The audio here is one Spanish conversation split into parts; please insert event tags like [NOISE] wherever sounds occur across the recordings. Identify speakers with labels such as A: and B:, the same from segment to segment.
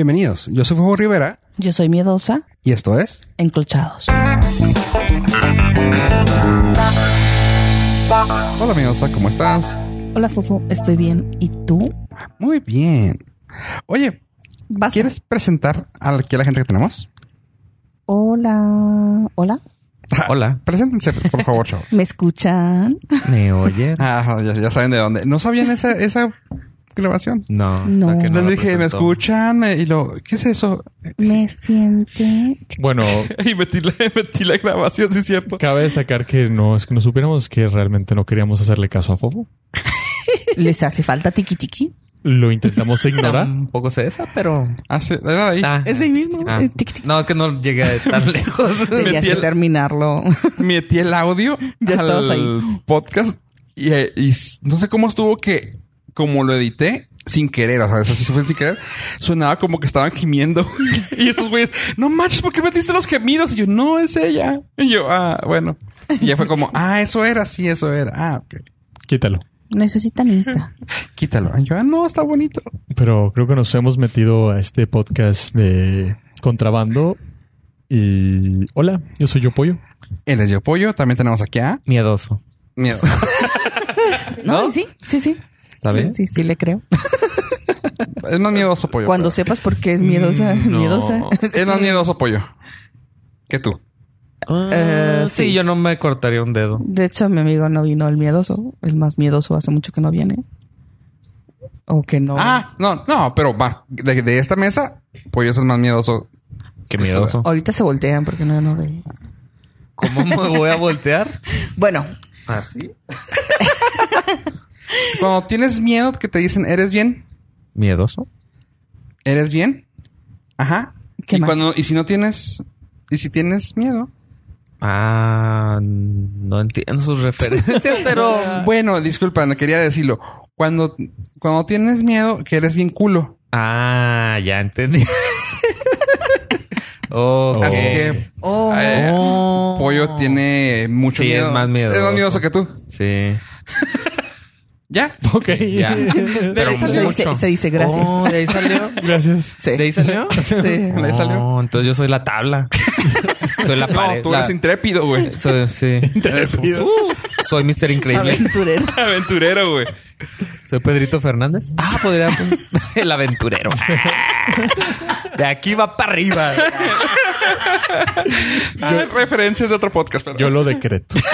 A: Bienvenidos. Yo soy Fuego Rivera
B: Yo soy miedosa,
A: y esto es.
B: encolchados.
A: Hola, amigos. ¿Cómo estás?
B: Hola, Fofo, estoy bien. ¿Y tú?
A: Muy bien. Oye,
B: Basta.
A: ¿quieres presentar a aquí a la gente que tenemos?
B: Hola. Hola.
C: Hola,
A: Preséntense, por favor, chavos.
B: ¿Me escuchan?
C: ¿me oyen?
A: [LAUGHS] Ah, ya, ya saben de dónde. No sabían esa, esa grabación.
C: No, hasta
B: No.
C: que no
A: Les
C: lo
A: dije, me
C: presentó.
A: escuchan Eh, y lo, ¿qué es eso?
B: ¿Me sienten?
D: Bueno,
A: Y metí la, [LAUGHS] metí la grabación, sí, es cierto.
D: cabe destacar que no es que no supiéramos que realmente no queríamos hacerle caso a Fofo.
B: ¿Les hace falta tiki tiki?
C: [LAUGHS]
D: Lo intentamos ignorar.
C: Tampoco sé esa, pero.
A: Ah, sí, era ahí.
C: Ah.
B: Es el mismo.
C: Ah.
B: eh, tiki, tiki.
C: No, es que no llegué [LAUGHS] tan lejos.
B: Tenías
A: metí
B: que
A: el-
B: terminarlo.
A: Metí el audio
B: Ya
A: al
B: estabas ahí.
A: podcast y, eh, y s- no sé cómo estuvo que, como lo edité, sin querer, o sea, eso sí fue sin querer, sonaba como que estaban gimiendo. [LAUGHS] y estos güeyes, no manches, ¿por qué metiste los gemidos? Y yo, no, es ella. Y yo, ah, bueno. Y ya fue como, ah, eso era, sí, eso era. Ah, ok.
D: Quítalo.
B: [LAUGHS] Necesitan Insta.
A: Quítalo. Y yo, ah, no, está bonito.
D: Pero creo que nos hemos metido a este podcast de contrabando. Y hola, yo soy Yo Pollo.
A: Él es Yo Pollo. También tenemos aquí a...
C: Miedoso.
A: Miedo.
B: ¿No? Sí, sí, sí.
C: ¿Está bien?
B: Sí, sí, sí, le creo.
A: Es más miedoso pollo.
B: Cuando sepas por qué es miedosa,
C: Mm, no.
B: miedosa.
A: pero- Es más miedoso pollo. Que tú.
C: Ah,
B: Eh,
C: sí.
B: sí.
C: yo no me cortaría un dedo.
B: De hecho, mi amigo no vino el miedoso. El más miedoso hace mucho que no viene. O que no.
A: Ah, no, no, pero va. De, de esta mesa, pollo es el más miedoso.
C: Qué
A: miedoso.
B: Ahorita se voltean porque no, no ve.
C: ¿Cómo me voy a voltear? [LAUGHS]
B: Bueno,
C: Así.
A: Cuando tienes miedo que te dicen, ¿eres bien?
C: ¿Miedoso?
A: ¿Eres bien? Ajá.
B: ¿Qué
A: y
B: más?
A: cuando, y si no tienes, y si tienes miedo.
C: Ah, no entiendo sus [LAUGHS] referencias, pero.
A: Bueno, disculpa, no quería decirlo. Cuando, cuando tienes miedo, que eres bien culo.
C: Ah, ya entendí. [LAUGHS] Ok.
A: Así que
B: oh,
A: eh,
C: Oh.
A: pollo tiene mucho
C: Sí, es
A: miedo.
C: más miedoso.
A: Es más miedoso que tú.
C: Sí. [LAUGHS]
A: ¿Ya?
D: Ok.
C: Ya. Pero
B: Eso se dice, se dice gracias.
C: Oh, de ahí salió.
D: Gracias.
B: [LAUGHS] Sí.
C: ¿De ahí salió? [LAUGHS]
A: [LAUGHS]
B: Sí.
A: ¿De ahí salió?
C: No, entonces yo soy la
A: [LAUGHS]
C: tabla. soy la pared.
A: No, tú
C: la-
A: eres intrépido,
C: [LAUGHS]
A: güey.
C: soy, sí. Uh, soy Mr. Increíble.
B: Aventurero.
A: Aventurero, güey.
C: Soy Pedrito Fernández. Ah, podría. [LAUGHS]
A: [LAUGHS]
C: El aventurero. Ah. De aquí va para [LAUGHS] arriba.
A: Ah, referencias de otro podcast, pero
D: Yo lo decreto.
A: [LAUGHS]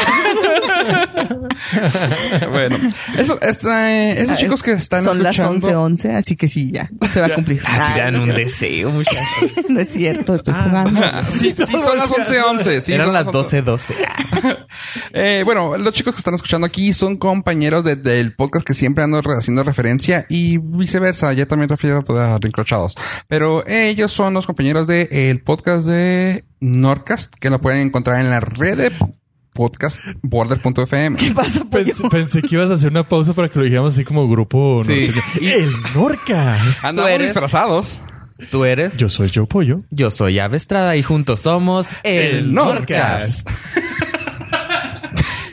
C: [LAUGHS]
A: bueno. Eso, esta, eh, esos chicos que están
B: Ah, Son las
A: escuchando-
B: 11.11, así que sí, ya. Se va a cumplir.
C: Tiran Ah, un deseo, muchachos.
B: [LAUGHS] no es cierto, estoy jugando.
A: Ah, [LAUGHS] sí, sí, son las 11.11. Sí,
C: Eran
A: son
C: las
A: 11.
C: 12:12.
A: [LAUGHS] Eh, bueno, los chicos que están escuchando aquí son compañeros de- del podcast que siempre ando re- haciendo referencia y viceversa. Ya también refiero a, a Rincrochados. Pero ellos son los compañeros del podcast de Norcast, que lo pueden encontrar en la red de podcast border.fm.
B: ¿Qué pasa, pollo?
D: Pensé, pensé que ibas a hacer una pausa para que lo dijéramos así como grupo.
C: Sí.
D: norteño. El
C: [LAUGHS]
D: Norcas.
A: Andamos
C: eres?
A: disfrazados.
C: Tú eres.
D: Yo soy Yo Pollo.
C: Yo soy Ave Estrada y juntos somos el
D: El
C: Norcas.
D: Norcas.
A: [LAUGHS]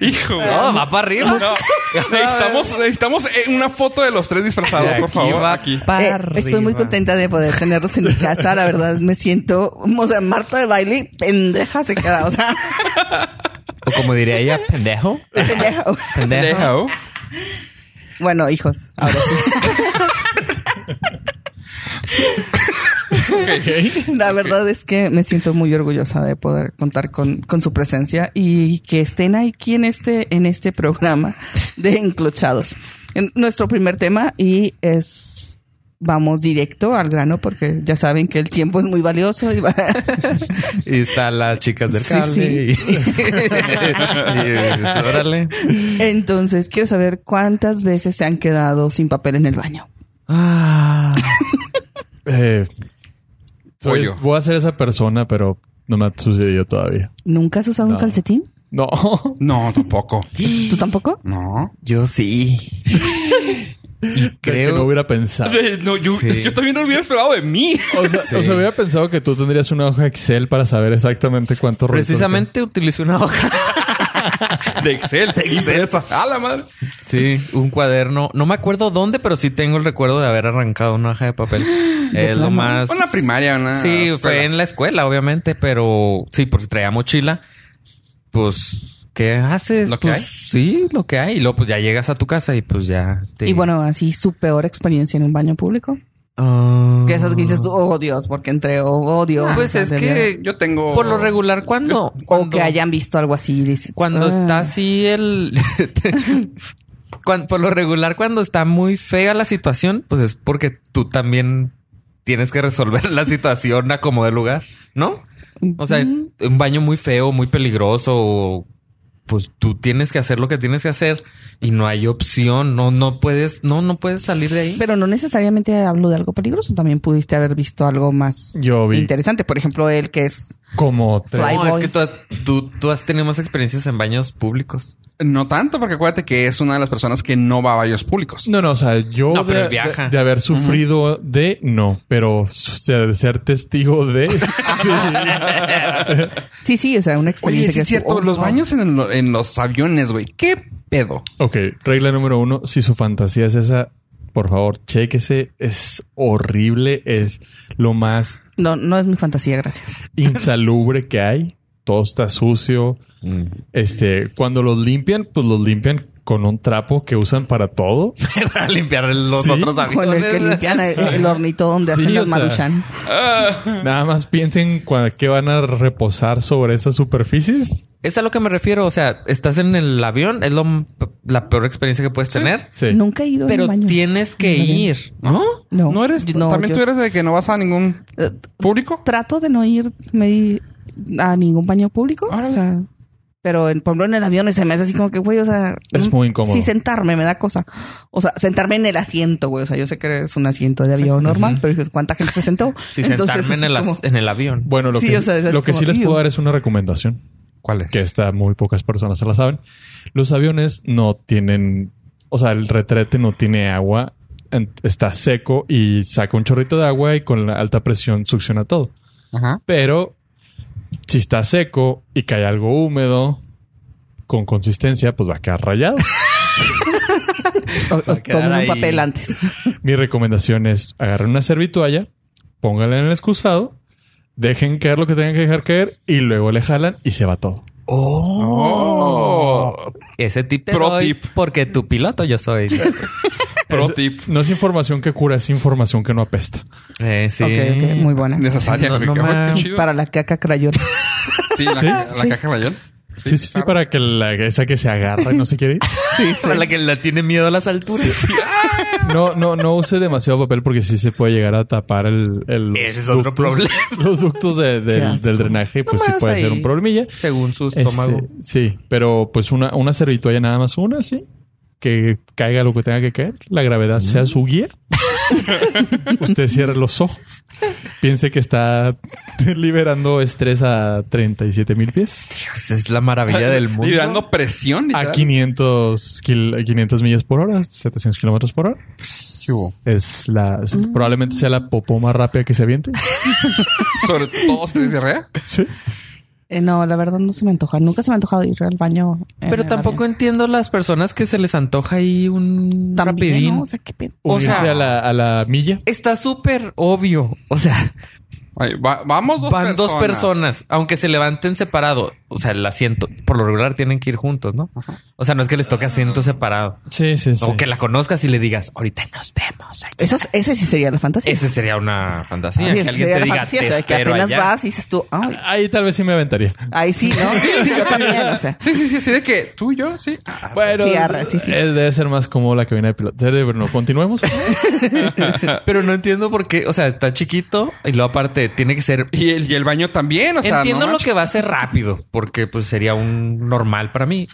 A: Hijo.
C: No, va para arriba. [LAUGHS]
A: No, necesitamos, necesitamos eh, una foto de los tres disfrazados, por favor. Aquí.
C: para
B: Eh, estoy muy
C: arriba.
B: contenta de poder tenerlos en mi casa. La verdad, me siento... O sea, Marta de baile, pendeja se queda. O sea, [LAUGHS]
C: O como diría ella, pendejo.
B: pendeja.
A: [LAUGHS]
C: Pendejo.
A: Deja, oh.
B: Bueno, hijos, ahora sí. La verdad es que me siento muy orgullosa de poder contar con, con su presencia y que estén aquí en este, en este programa de Enclochados. En nuestro primer tema y es... Vamos directo al grano porque ya saben que el tiempo es muy valioso y va-
C: Y están las chicas del
B: Sí,
C: cable. Y, y es, órale.
B: Entonces, quiero saber cuántas veces se han quedado sin papel en el baño.
C: Ah,
D: Eh, soy-
A: Pollo.
D: voy a ser esa persona, pero no me ha sucedido todavía.
B: ¿Nunca has usado un
D: No.
B: calcetín?
D: No. [LAUGHS]
A: No, [LAUGHS] tampoco.
B: ¿Tú tampoco?
A: No.
C: yo sí. Y
D: Que no
C: creo.
D: hubiera
A: [LAUGHS]
D: pensado.
A: No, yo,
C: Sí.
A: yo también no hubiera esperado de mí.
D: O sea,
C: Sí.
D: o sea, hubiera pensado que tú tendrías una hoja Excel para saber exactamente cuánto
C: Precisamente utilicé una hoja.
A: De Excel. De Excel. A la madre.
C: Sí, un cuaderno. No me acuerdo dónde, pero sí tengo el recuerdo de haber arrancado una hoja de papel.
B: ¿De
C: Es lo
B: plano?
C: más.
A: Una primaria, una.
C: Pues, Sí, fue en la escuela, obviamente, pero sí, porque traía mochila. Pues, ¿qué haces?
A: ¿Lo que
C: Pues,
A: hay?
C: Sí, lo que hay. Y luego, pues ya llegas a tu casa y pues ya te.
A: Este,
B: Y bueno, así su peor experiencia en un baño público.
C: Ah.
B: Que esas que dices tú, oh Dios, porque entre oh Dios.
C: Pues es que
A: Yo tengo.
C: Por lo regular,
B: [LAUGHS]
C: cuando.
B: O
C: cuando-
B: que hayan visto algo así, dices.
C: Cuando
B: ah.
C: está así el. [LAUGHS] Cuan- por lo regular, cuando está muy fea la situación, pues es porque tú también tienes que resolver la situación a como de lugar, ¿no? O sea,
B: Ujú.
C: un baño muy feo, muy peligroso, o, pues tú tienes que hacer lo que tienes que hacer y no hay opción, no, no puedes, no, no puedes salir de ahí.
B: Pero no necesariamente hablo de algo peligroso. También pudiste haber visto algo más
D: Yo vi
B: interesante. Por ejemplo, el que es.
D: como tres.
B: Fly.
C: no,
B: Playboy.
C: es que tú, has- tú, tú has tenido más experiencias en baños públicos.
A: No tanto, porque acuérdate que es una de las personas que no va a baños públicos.
D: No, no, o sea, yo
C: No, pero
D: de,
C: él viaja.
D: de- de haber sufrido de, no, pero o sea, de ser testigo de... [LAUGHS] sí.
B: Sí, sí, o sea, una
A: Oye,
B: experiencia
A: sí
B: que
A: es
B: tú,
A: cierto.
B: oh,
A: los
B: wow.
A: baños en, el- en los aviones, güey. ¿Qué pedo?
D: Ok, regla número uno, si su fantasía es esa, por favor, chéquese, es horrible, es
B: [LAUGHS]
D: lo más
B: No, no es mi fantasía, gracias.
D: insalubre que hay, todo está sucio, este, cuando los limpian, pues los limpian con un trapo que usan para todo.
C: [LAUGHS] Para limpiar [LAUGHS] los
D: Sí.
C: otros aviones.
B: Con el que limpian el, el hornito donde
D: Sí,
B: hacen
D: o
B: las
D: sea.
B: maruchan.
D: [LAUGHS] Nada más piensen cua- que van a reposar sobre esas superficies.
C: Es a lo que me refiero. O sea, estás en el avión, es lo, m- la peor experiencia que puedes tener,
D: Sí.
B: Nunca he ido a
C: pero
B: un baño.
C: tienes que
B: Muy bien.
C: ir, ¿no?
B: No,
A: ¿No eres?
B: yo- no,
A: ¿También
B: yo-
A: tú eres de que no vas a ningún
B: Eh,
A: público?
B: Trato de no ir me- a ningún baño público.
A: Órale.
B: O sea, pero en, por ejemplo en el avión se me hace así como que, güey, o sea...
D: Es
B: mm,
D: muy incómodo.
B: Sí, sentarme me da cosa. O sea, sentarme en el asiento, güey. O sea, yo sé que es un asiento de avión normal, pero digo, ¿cuánta gente se
C: [LAUGHS]
B: sentó?
C: Si
B: Entonces,
C: sentarme en
B: así
C: el, as-
B: como- eh,
C: [LAUGHS] en el avión.
D: Bueno, lo
B: Sí,
D: que,
B: o sea, es
D: lo que
B: como,
D: sí les
B: "Ew".
D: puedo dar es una recomendación
A: ¿Cuál es?
D: que está muy pocas personas se la saben. Los aviones no tienen, o sea, el retrete no tiene agua, en- está seco y saca un chorrito de agua y con la alta presión succiona todo.
A: Ajá.
D: Pero si está seco y cae algo húmedo con consistencia, pues va a quedar rayado.
B: O- o
C: a quedar
B: tomo un
C: ahí.
B: papel antes.
D: Mi recomendación es agarren una servitualla, pónganla en el excusado, dejen caer lo que tengan que dejar caer y luego le jalan y se va todo.
C: Oh. Ese tip te
A: Pro
C: doy
A: tip.
C: porque tu piloto yo soy.
A: Pro
D: Es-
A: tip.
D: No es información que cura, es información que no apesta.
C: Eh, sí.
B: Ok, ok, muy buena.
A: Necesaria.
C: No,
A: güey.
C: no
A: Qué
C: me-
A: chido.
B: Para la caca crayola. [LAUGHS]
A: Sí, la,
D: ¿Sí?
A: la
B: Sí.
A: caja rayón.
D: Sí, sí, sí, para que la, esa que se agarra y no se quiere ir.
B: [LAUGHS] sí, sí.
C: Para la que la tiene miedo a las alturas.
D: [LAUGHS] No, no, no use demasiado papel porque sí se puede llegar a tapar el... el- los
C: Ese es otro problema.
D: [LAUGHS] Los ductos de- del-
B: Qué asco.
D: del drenaje, pues sí
C: Nomás
D: puede ser
C: ahí.
D: un problemilla.
C: [LAUGHS] Según su
D: Este,
C: estómago.
D: sí, pero pues una, una servitualla nada más una, sí. Que caiga lo que tenga que caer. La gravedad
C: Mm.
D: sea su guía. [LAUGHS] Usted cierre los ojos. Piense que está [LAUGHS] liberando estrés a 37 mil pies.
C: Pues es la maravilla del mundo.
A: [LAUGHS] Y dando presión.
D: A
A: literal.
D: 500, kil- 500 millas por hora, 700 kilómetros por hora. Es la... es-
B: Mm.
D: Probablemente sea la popó más rápida que se [LAUGHS] aviente.
A: Sobre todo si tienes diarrea.
D: Sí.
B: Eh, no, la verdad no se me antoja. Nunca se me ha antojado ir al baño. en
C: Pero
B: el
C: tampoco
B: avión.
C: entiendo las personas que se les antoja ahí un
B: También,
C: rapidín.
B: ¿no? O sea, qué pedo.
C: O
D: Unirse
C: sea-
D: a, la, a la milla.
C: Está súper obvio. O sea,
A: Ay, va- vamos dos
C: van
A: personas.
C: dos personas, aunque se levanten separado. O sea, el asiento, por lo regular tienen que ir juntos, ¿no? O sea, no es que les toque asiento separado.
D: Sí, sí, sí.
C: O que la conozcas y le digas, ahorita nos vemos allá".
B: Eso, es- ese sí sería la fantasía.
C: Ese sería una
B: Sí,
C: fantasía. que
B: esa
C: alguien
B: sería
C: te
B: la
C: diga,
B: fantasía,
C: "Te
B: o sea, que
C: espero
B: apenas
C: allá".
B: vas y dices tú, ay,
D: Ahí tal vez sí me aventaría.
B: ahí sí, ¿no? Sí, yo también, o sea.
A: Sí, sí, sí. Así de que tú y yo, sí. Ah,
D: Bueno,
B: Sí, arre, sí, sí.
D: eh, debe ser más cómodo la cabina de piloto. Debe- pero no,
B: [LAUGHS]
D: continuemos.
C: Pero no entiendo por qué. O sea, está chiquito y luego aparte tiene que ser.
A: Y el, y el baño también, o sea,
C: Entiendo
A: no
C: lo
A: manches.
C: que va a ser rápido, porque pues sería un normal para [LAUGHS] mí.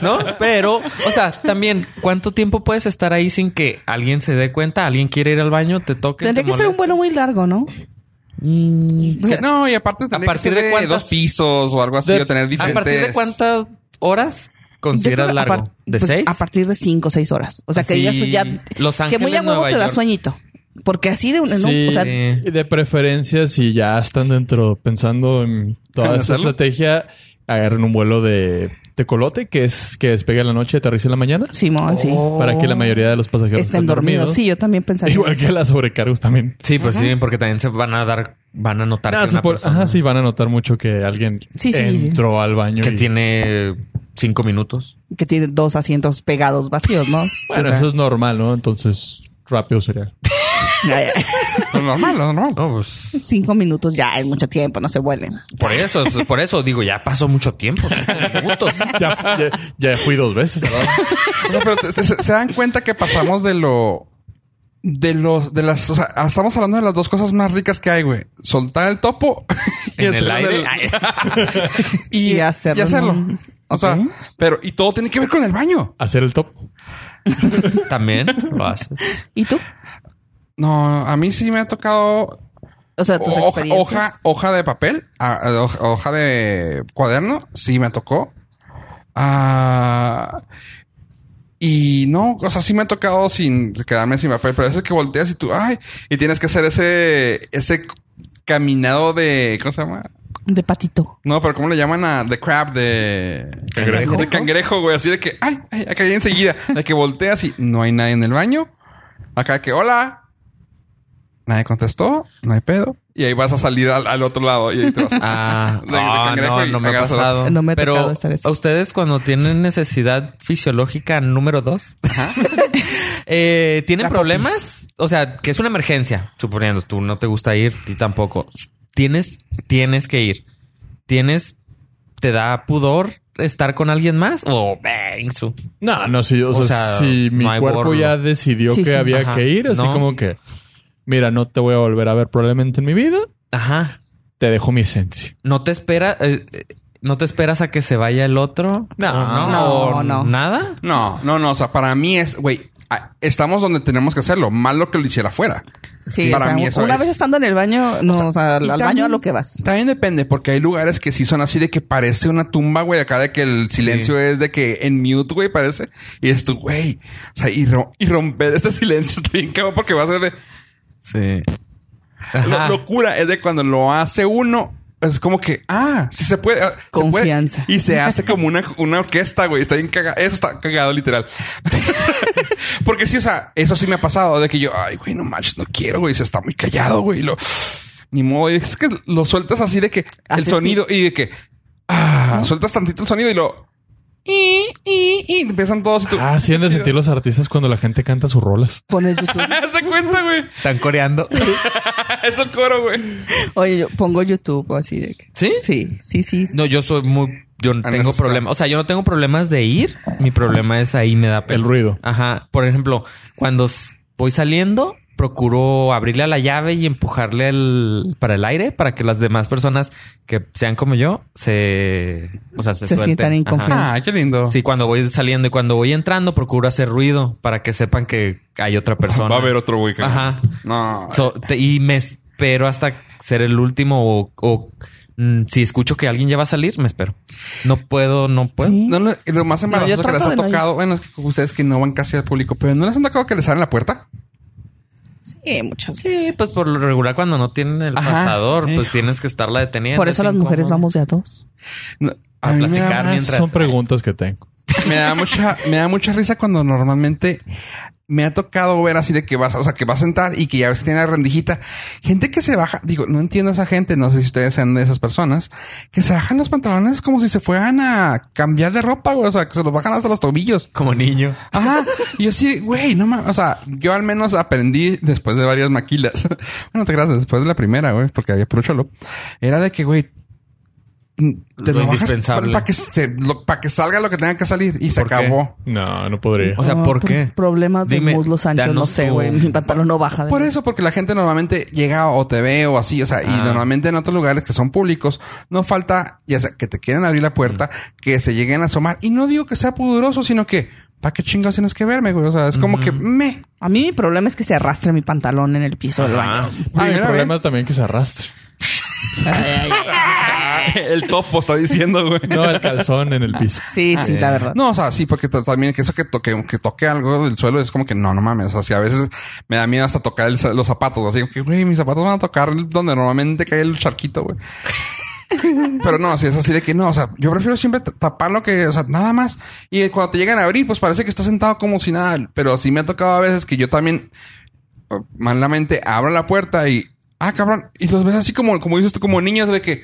C: ¿No? Pero, o sea, también, ¿cuánto tiempo puedes estar ahí sin que alguien se dé cuenta? ¿Alguien quiere ir al baño? ¿Te toque?
B: Tendría
C: te
B: que ser un
C: moleste?
B: vuelo muy largo, ¿no?
C: Mm,
A: Sí, No, y aparte tendría
C: partir
A: que ser
C: de cuántas-
A: dos pisos o algo así,
D: De-
A: o tener
C: ¿A
A: diferentes...
C: partir de cuántas horas
B: Yo
C: consideras
B: creo que
C: largo?
B: a par-
C: ¿De
B: pues,
C: seis?
B: A partir de cinco o seis horas. O sea, que
C: Así,
B: digas tú ya...
C: Los
B: que muy
C: Ángeles,
B: a huevo
C: Nueva
B: te da
C: York.
B: sueñito. Porque así de una... ¿no?
D: Sí,
B: O sea,
D: de preferencia, si ya están dentro pensando en toda esa
A: ¿Hacerlo?
D: estrategia agarren un vuelo de tecolote, que es que despega en la noche, aterriza en la mañana,
B: Simón, sí.
D: para que la mayoría de los pasajeros
B: Oh. Estén dormidos. Sí, yo también pensaría.
D: Igual que las sobrecargos también.
C: Sí, pues sí, porque también se van a dar, van a notar
D: Ah,
C: que, una
D: supo-
C: persona
D: ajá, sí, van a notar mucho que alguien
B: Sí, sí, sí.
D: entró al baño.
C: que
D: y-
C: tiene cinco minutos.
B: Que tiene dos asientos pegados vacíos, ¿no?
D: Bueno,
B: O sea,
D: eso es normal, ¿no? Entonces, rápido sería.
A: Lo normal, lo normal.
C: No, pues
B: Cinco minutos ya es mucho tiempo, no se vuelen.
C: por eso, por eso digo, ya pasó mucho tiempo, cinco minutos.
D: [LAUGHS] Ya, ya- ya fui dos veces. ¿verdad?
C: Oh.
A: O sea, pero te- te- se, se dan cuenta que pasamos de lo. De los, de las, o sea, estamos hablando de las dos cosas más ricas que hay, güey. Soltar el topo [LAUGHS] y
C: En el
A: hacerlo
C: aire.
A: del-
C: Ay.
B: Y
A: Y
B: hacerlo,
A: hacerlo.
B: ¿no?
A: O sea,
B: Ok.
A: pero, y todo tiene que ver con el baño.
D: [LAUGHS] Hacer el top.
C: También lo haces.
B: ¿Y tú?
A: No, a mí sí me ha tocado
B: O sea, tus
A: hoja,
B: experiencias.
A: hoja, hoja de papel, ah, ah, hoja, hoja de cuaderno, sí me tocó. Ah, y no, o sea, sí me ha tocado sin quedarme sin papel, pero es que volteas y tú, ay, y tienes que hacer ese, ese caminado de, ¿cómo se llama?
B: De patito.
A: No, pero ¿cómo le llaman a The Crab de
C: Cangrejo.
A: De cangrejo, güey. Así de que, ay, ay acá hay enseguida. De que volteas y no hay nadie en el baño. Acá que, hola. Nadie contestó, no hay pedo. Y ahí vas a salir al, al otro lado y ahí te vas.
C: Ah,
A: De- de cangrejo
C: no,
A: y
C: no me ha
A: agarras a la-
C: pasado.
B: No me ha
C: Pero
B: tocado hacer eso.
C: a ustedes cuando tienen necesidad fisiológica número dos, [LAUGHS] eh, ¿tienen
A: La
C: problemas? O sea, que es una emergencia, suponiendo tú no te gusta ir, ti tampoco. Tienes, tienes que ir. Tienes, te da pudor estar con alguien más o eh, bang, su-
D: No, no, sí. O,
C: O
D: sea,
C: sea,
D: si mi
C: no hay
D: cuerpo
C: borlo.
D: ya decidió
B: Sí,
D: que
B: sí.
D: había
C: Ajá.
D: que ir, así
C: No.
D: como que, mira, no te voy a volver a ver probablemente en mi vida,
C: Ajá.
D: te dejo mi esencia.
C: No te espera, eh, eh, no te esperas a que se vaya el otro.
D: No,
C: no,
B: no,
C: ¿O
B: no.
C: Nada.
A: [LAUGHS] No, no, no. O sea, para mí es, güey, ah, estamos donde tenemos que hacerlo. Malo que lo hiciera afuera.
B: Sí,
A: Para
B: o sea,
A: mí eso
B: una
A: es.
B: vez estando en el baño, no, o sea, al,
A: Y
B: al
A: también-
B: baño a lo que vas.
A: También depende, porque hay lugares que sí son así de que parece una tumba, güey. Acá de que el silencio es de que en mute, güey, parece. Y es tú, güey. O sea, y, ro- y romper este silencio [LAUGHS] está bien cabrón porque va a ser de. Sí. La
C: Ajá.
A: locura es de cuando lo hace uno. Es como que, ah, sí se puede. ah, se puede.
B: Confianza.
A: y se hace como una, una orquesta, güey. Está bien cagado. Eso está cagado, literal. Porque sí, o sea, eso sí me ha pasado de que yo, ay, güey, no manches, no quiero, güey. Se está muy callado, güey. y Lo, ni modo. y Es que lo sueltas así de que el
B: Haces
A: sonido y de que, ah, sueltas tantito el sonido y lo, y, y, y empiezan todos y tú.
D: Ah,
A: [LAUGHS]
D: sí han de sentir los artistas cuando la gente canta sus rolas.
A: [LAUGHS]
B: Pones YouTube.
A: ¿Te das cuenta, güey?
C: Están coreando.
A: Es el coro, güey.
B: Oye, yo pongo YouTube o así de que.
C: ¿Sí?
B: Sí, sí, sí.
C: No, yo soy muy. Yo no
A: Ah, no,
C: tengo
A: eso está-
C: problemas. O sea, yo no tengo problemas de ir. Mi problema es ahí me da pena.
D: El ruido.
C: Ajá. Por ejemplo, cuando s- voy saliendo, procuro abrirle a la llave y empujarle el- para el aire para que las demás personas que sean como yo se. O sea, se,
B: Se
C: suelten.
B: sientan en
C: Ajá.
B: confianza.
A: Ah, qué lindo.
C: Sí, cuando voy saliendo y cuando voy entrando, procuro hacer ruido para que sepan que hay otra persona.
A: Va a haber otro güey. que-
C: Ajá.
A: No.
C: So, te- y me espero hasta ser el último o, o, mm, si escucho que alguien ya va a salir, me espero. No puedo, no puedo.
B: Sí.
A: No, no, y lo más
B: yo
A: embarazoso que
B: trato
A: les ha
B: de no ir.
A: tocado, bueno, es que ustedes que no van casi al público, pero ¿no les han tocado que les abren la puerta?
B: Sí, muchas
C: Sí, pues por lo regular cuando no tienen el
A: Ajá.
C: pasador, pues
A: Hijo.
C: tienes que estarla deteniendo.
B: Por eso
C: es
B: las
C: incómodo.
B: mujeres vamos de a dos.
A: No,
C: A
A: a mí me
C: platicar
A: da,
D: Ah,
C: mientras-
D: son preguntas que tengo.
A: me da mucha, me da mucha risa cuando normalmente me ha tocado ver así de que vas, o sea, que vas a sentar y que ya ves que tiene la rendijita. Gente que se baja, digo, no entiendo a esa gente, no sé si ustedes sean de esas personas, que se bajan los pantalones como si se fueran a cambiar de ropa, güey, o sea, que se los bajan hasta los tobillos.
C: Como niño.
A: Ajá. Y yo sí, güey, no mames. O sea, yo al menos aprendí después de varias maquilas. [LAUGHS] bueno, te creas, después de la primera, güey, porque había puro cholo. Era de que, güey, mm, te
C: Lo
A: lo, bajas
C: indispensable.
A: para que, se- lo- pa' que salga lo que tenga que salir y se
C: ¿Por qué?
A: acabó.
D: No, no podría.
C: O sea, ¿por qué?
B: Ah, Problemas
C: Dime,
B: de muslos anchos, no
C: danos
B: sé,
C: tu-
B: güey. Mi pantalón no baja. de-
A: Por eso, porque la gente normalmente llega o te ve o así, o sea, y
C: Ah.
A: normalmente en otros lugares que son públicos, no falta, ya sea, que te quieren abrir la puerta, que se lleguen a asomar. Y no digo que sea pudoroso, sino que, ¿para qué chingados tienes que verme, güey? O sea, es como que, me.
B: A mí mi problema es que se arrastre mi pantalón en el piso del
C: Ajá.
B: baño.
D: Ah, el
A: Primera
D: problema es también que se arrastre.
A: El topo está diciendo, güey.
D: No, el calzón en el piso.
B: Sí, sí, la verdad.
A: No, o sea, sí, porque t- también que eso que toque, que toque algo del suelo es como que no, no mames. O sea, si a veces me da miedo hasta
B: [LAUGHS]
A: tocar el za- los zapatos. Así que, güey, mis zapatos van a tocar donde normalmente cae el charquito, güey. Pero no, si es así de que no, o sea, yo prefiero siempre ta- tapar lo que, o sea, nada más. Y eh, cuando te llegan a abrir, pues parece que estás sentado como si nada. Pero sí me ha tocado a veces que yo también eh, malamente abro la puerta y, ah, cabrón, y los ves así como, como dices tú, como niños de que,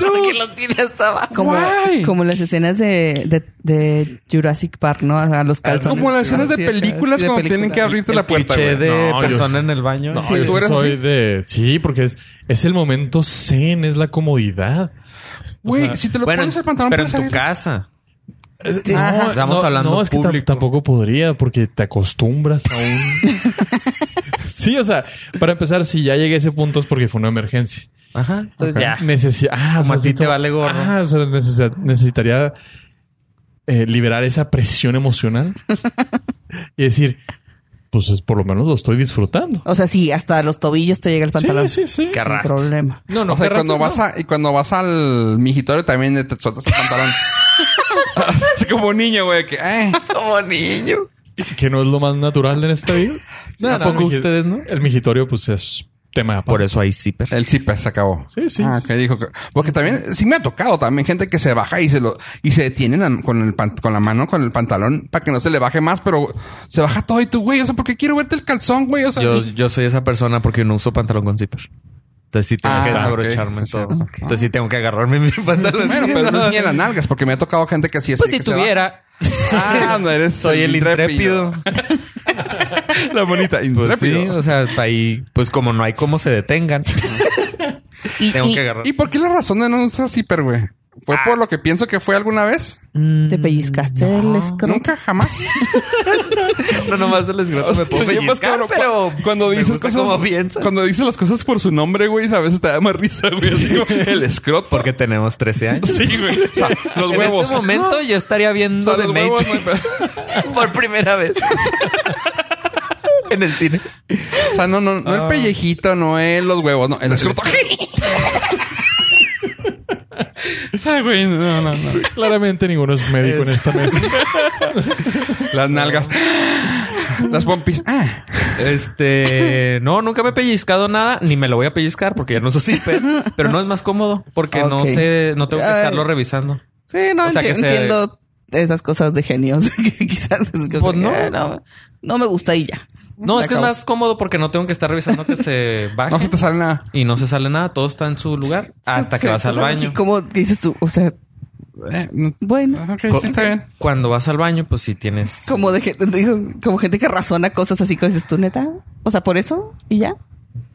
C: Porque lo tiene hasta abajo.
B: Como,
A: Guay.
B: como las escenas de, de, de Jurassic Park, ¿no? A los calzones.
A: Ah, como las escenas de
B: Sí, acá,
A: películas
B: sí, de
A: cuando tienen
B: películas.
A: que abrirte la puerta.
C: Cliché
A: güey.
C: de
D: No, yo
C: persona
D: sí-
C: en el baño.
D: No,
A: Sí,
D: yo
A: ¿tú
D: sí
A: eres
D: soy
A: así?
D: de. Sí, porque es, es el momento zen, es la comodidad.
A: Güey,
D: sea,
A: si te lo
C: Bueno,
A: pones el pantalón,
C: pero en
A: puedes salir.
C: tu casa.
D: No,
C: Ajá. Estamos hablando
D: es que tam-
C: público.
D: tampoco podría porque te acostumbras
C: [LAUGHS]
D: a un... sí, o sea, para empezar, si ya llegué a ese punto es porque fue una emergencia.
C: Ajá. Entonces
D: Ajá.
C: ya.
D: Necesi- ah, o
C: Como
D: sea,
C: a ti
D: así
C: te vale gorro.
D: Ah, o sea, necesi- necesitaría eh, liberar esa
C: [LAUGHS]
D: presión emocional y decir, pues es, por lo menos lo estoy disfrutando.
B: O sea, sí, hasta los tobillos te llega el pantalón.
D: Sí, sí, sí.
C: Qué
B: Sin
C: arrastre.
B: problema.
D: No, no,
A: o sea, y
D: qué
A: cuando
D: rastro,
A: vas
D: no.
A: a, y cuando vas al migitorio también te sueltas el pantalón. Así como niño, güey, que, [LAUGHS] eh.
C: Como niño.
D: Que no es lo más natural en esta vida.
C: No, no,
D: Tampoco
C: no.
D: ustedes, ¿no? El migitorio, pues es tema aparte.
C: Por eso hay zipper.
A: El zipper se acabó.
D: Sí, sí.
A: Ah, que dijo que... Porque también... Sí me ha tocado también gente que se baja y se lo... Y se detienen an- con el pan- con la mano, con el pantalón, para que no se le baje más, pero se baja todo y tú, güey, o sea, porque quiero verte el calzón, güey, o sea...
C: Yo,
A: y-
C: yo soy esa persona porque no uso pantalón con zipper. Entonces sí tengo
A: Ah,
C: que
A: ok.
C: desabrocharme
A: Sí,
C: todo.
A: ok.
C: Entonces sí tengo que agarrarme [LAUGHS] mi pantalón.
A: Bueno, pero no es ni en las nalgas, porque me ha tocado gente que así es.
C: pues si tuviera.
A: Ah, no eres...
C: Soy el intrépido.
A: La bonita,
C: Pues sí,
A: intrépido.
C: o sea, ahí, pues como no hay cómo se detengan,
B: Y,
C: tengo
B: y
C: que agarrar.
A: ¿Y por qué la razón de no usar zipper, güey? ¿Fue
C: Ah.
A: por lo que pienso que fue alguna vez?
B: te pellizcaste el escroto.
A: Nunca, jamás.
C: [LAUGHS] pues No, nomás el escroto me puedo
A: Sí, yo, pues,
C: pellizcar,
A: cabrón,
C: pero
A: cu- cuando
C: me
A: dices
C: gusta
A: cosas,
C: como piensas.
A: cuando dices las cosas por su nombre, güey, a veces te da más risa, güey. Así como, el escroto.
C: Porque tenemos 13 años.
A: sí, güey. O sea, los
C: [LAUGHS] en
A: huevos.
C: este momento yo estaría
A: O
C: viendo
A: sea,
C: de
A: los huevos. no hay pedo.
C: por primera vez. en el cine.
A: O sea, no, no, no
C: Ah.
A: el pellejito, no es los huevos, no, el escroto. [LAUGHS] O sea, güey, no, no, no.
D: Claramente ninguno es médico en esta mesa.
A: Las nalgas.
C: [LAUGHS]
A: Las pompis. Ah.
C: Este, no, nunca me he pellizcado nada, ni me lo voy a pellizcar porque ya no uso zipper, pero no es más cómodo porque no
B: Ok.
C: sé, no tengo que
B: Ay.
C: estarlo revisando.
B: Sí, no,
C: O sea,
B: enti-
C: que se-
B: entiendo esas cosas de genios [LAUGHS] que quizás es como
C: Pues
B: que,
C: no.
B: "Ah, no. no me gusta y ya.
C: No,
B: Se
C: es que es
B: acabó.
C: más cómodo porque no tengo que estar revisando
B: [LAUGHS]
C: que se baje
A: No se te sale nada.
C: y no se sale nada, todo está en su lugar hasta que
B: Sí,
C: vas al
B: cosas así
C: baño.
B: Como dices tú, o sea,
A: Eh, no-
B: bueno,
A: Ok,
C: Co-
A: sí, está bien.
C: Cuando vas al baño, pues sí tienes
B: como de gente, digo, como gente que razona cosas así que dices tú, neta. O sea, por eso y ya.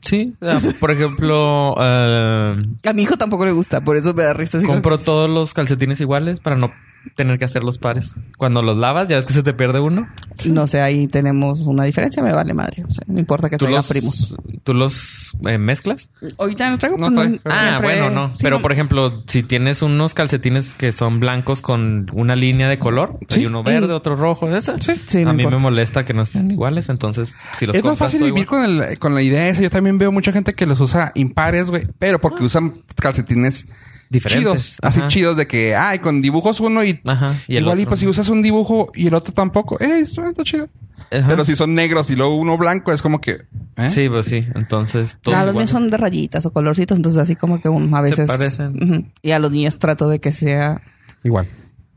C: Sí, ah, por ejemplo, [LAUGHS] eh,
B: A mi hijo tampoco le gusta, por eso me da risa. así como-
C: compro todos los calcetines iguales para no tener que hacer los pares. Cuando los lavas, ya ves que se te pierde uno.
B: No sé, ahí tenemos una diferencia, me vale madre. O sea, no importa que
C: Tú
B: traiga
C: los,
B: primos.
C: tú los eh, mezclas.
B: Ahorita no traigo.
A: No
B: pues,
A: trae, pero-
C: Ah,
B: siempre-
C: bueno, no.
B: sí,
C: Pero por ejemplo, si tienes unos calcetines que son blancos con una línea de color, hay uno verde, otro rojo, eso.
B: Sí, no
C: a mí
B: importa.
C: me molesta que no estén iguales, entonces si los
A: Es más
C: compras
A: fácil
C: todo
A: vivir
C: igual-
A: con, el- con la idea esa. Yo también veo mucha gente que los usa impares, güey. Pero porque usan calcetines
C: Diferentes.
A: chidos. Así
C: Ajá.
A: chidos de que, ay, con dibujos uno y...
C: Ajá, y el
A: igual y
C: otro
A: pues si
C: no.
A: usas un dibujo y el otro tampoco. Eh, eso está chido.
C: Ajá.
A: Pero si son negros y luego uno blanco es como que... ¿eh?
C: Sí, pues sí, entonces todos
B: Ah, los míos
C: iguales.
B: son de rayitas o colorcitos, entonces así como que um, a
C: Se
B: veces
C: parecen.
B: Ujú. Y a los niños trato de que sea
A: Igual.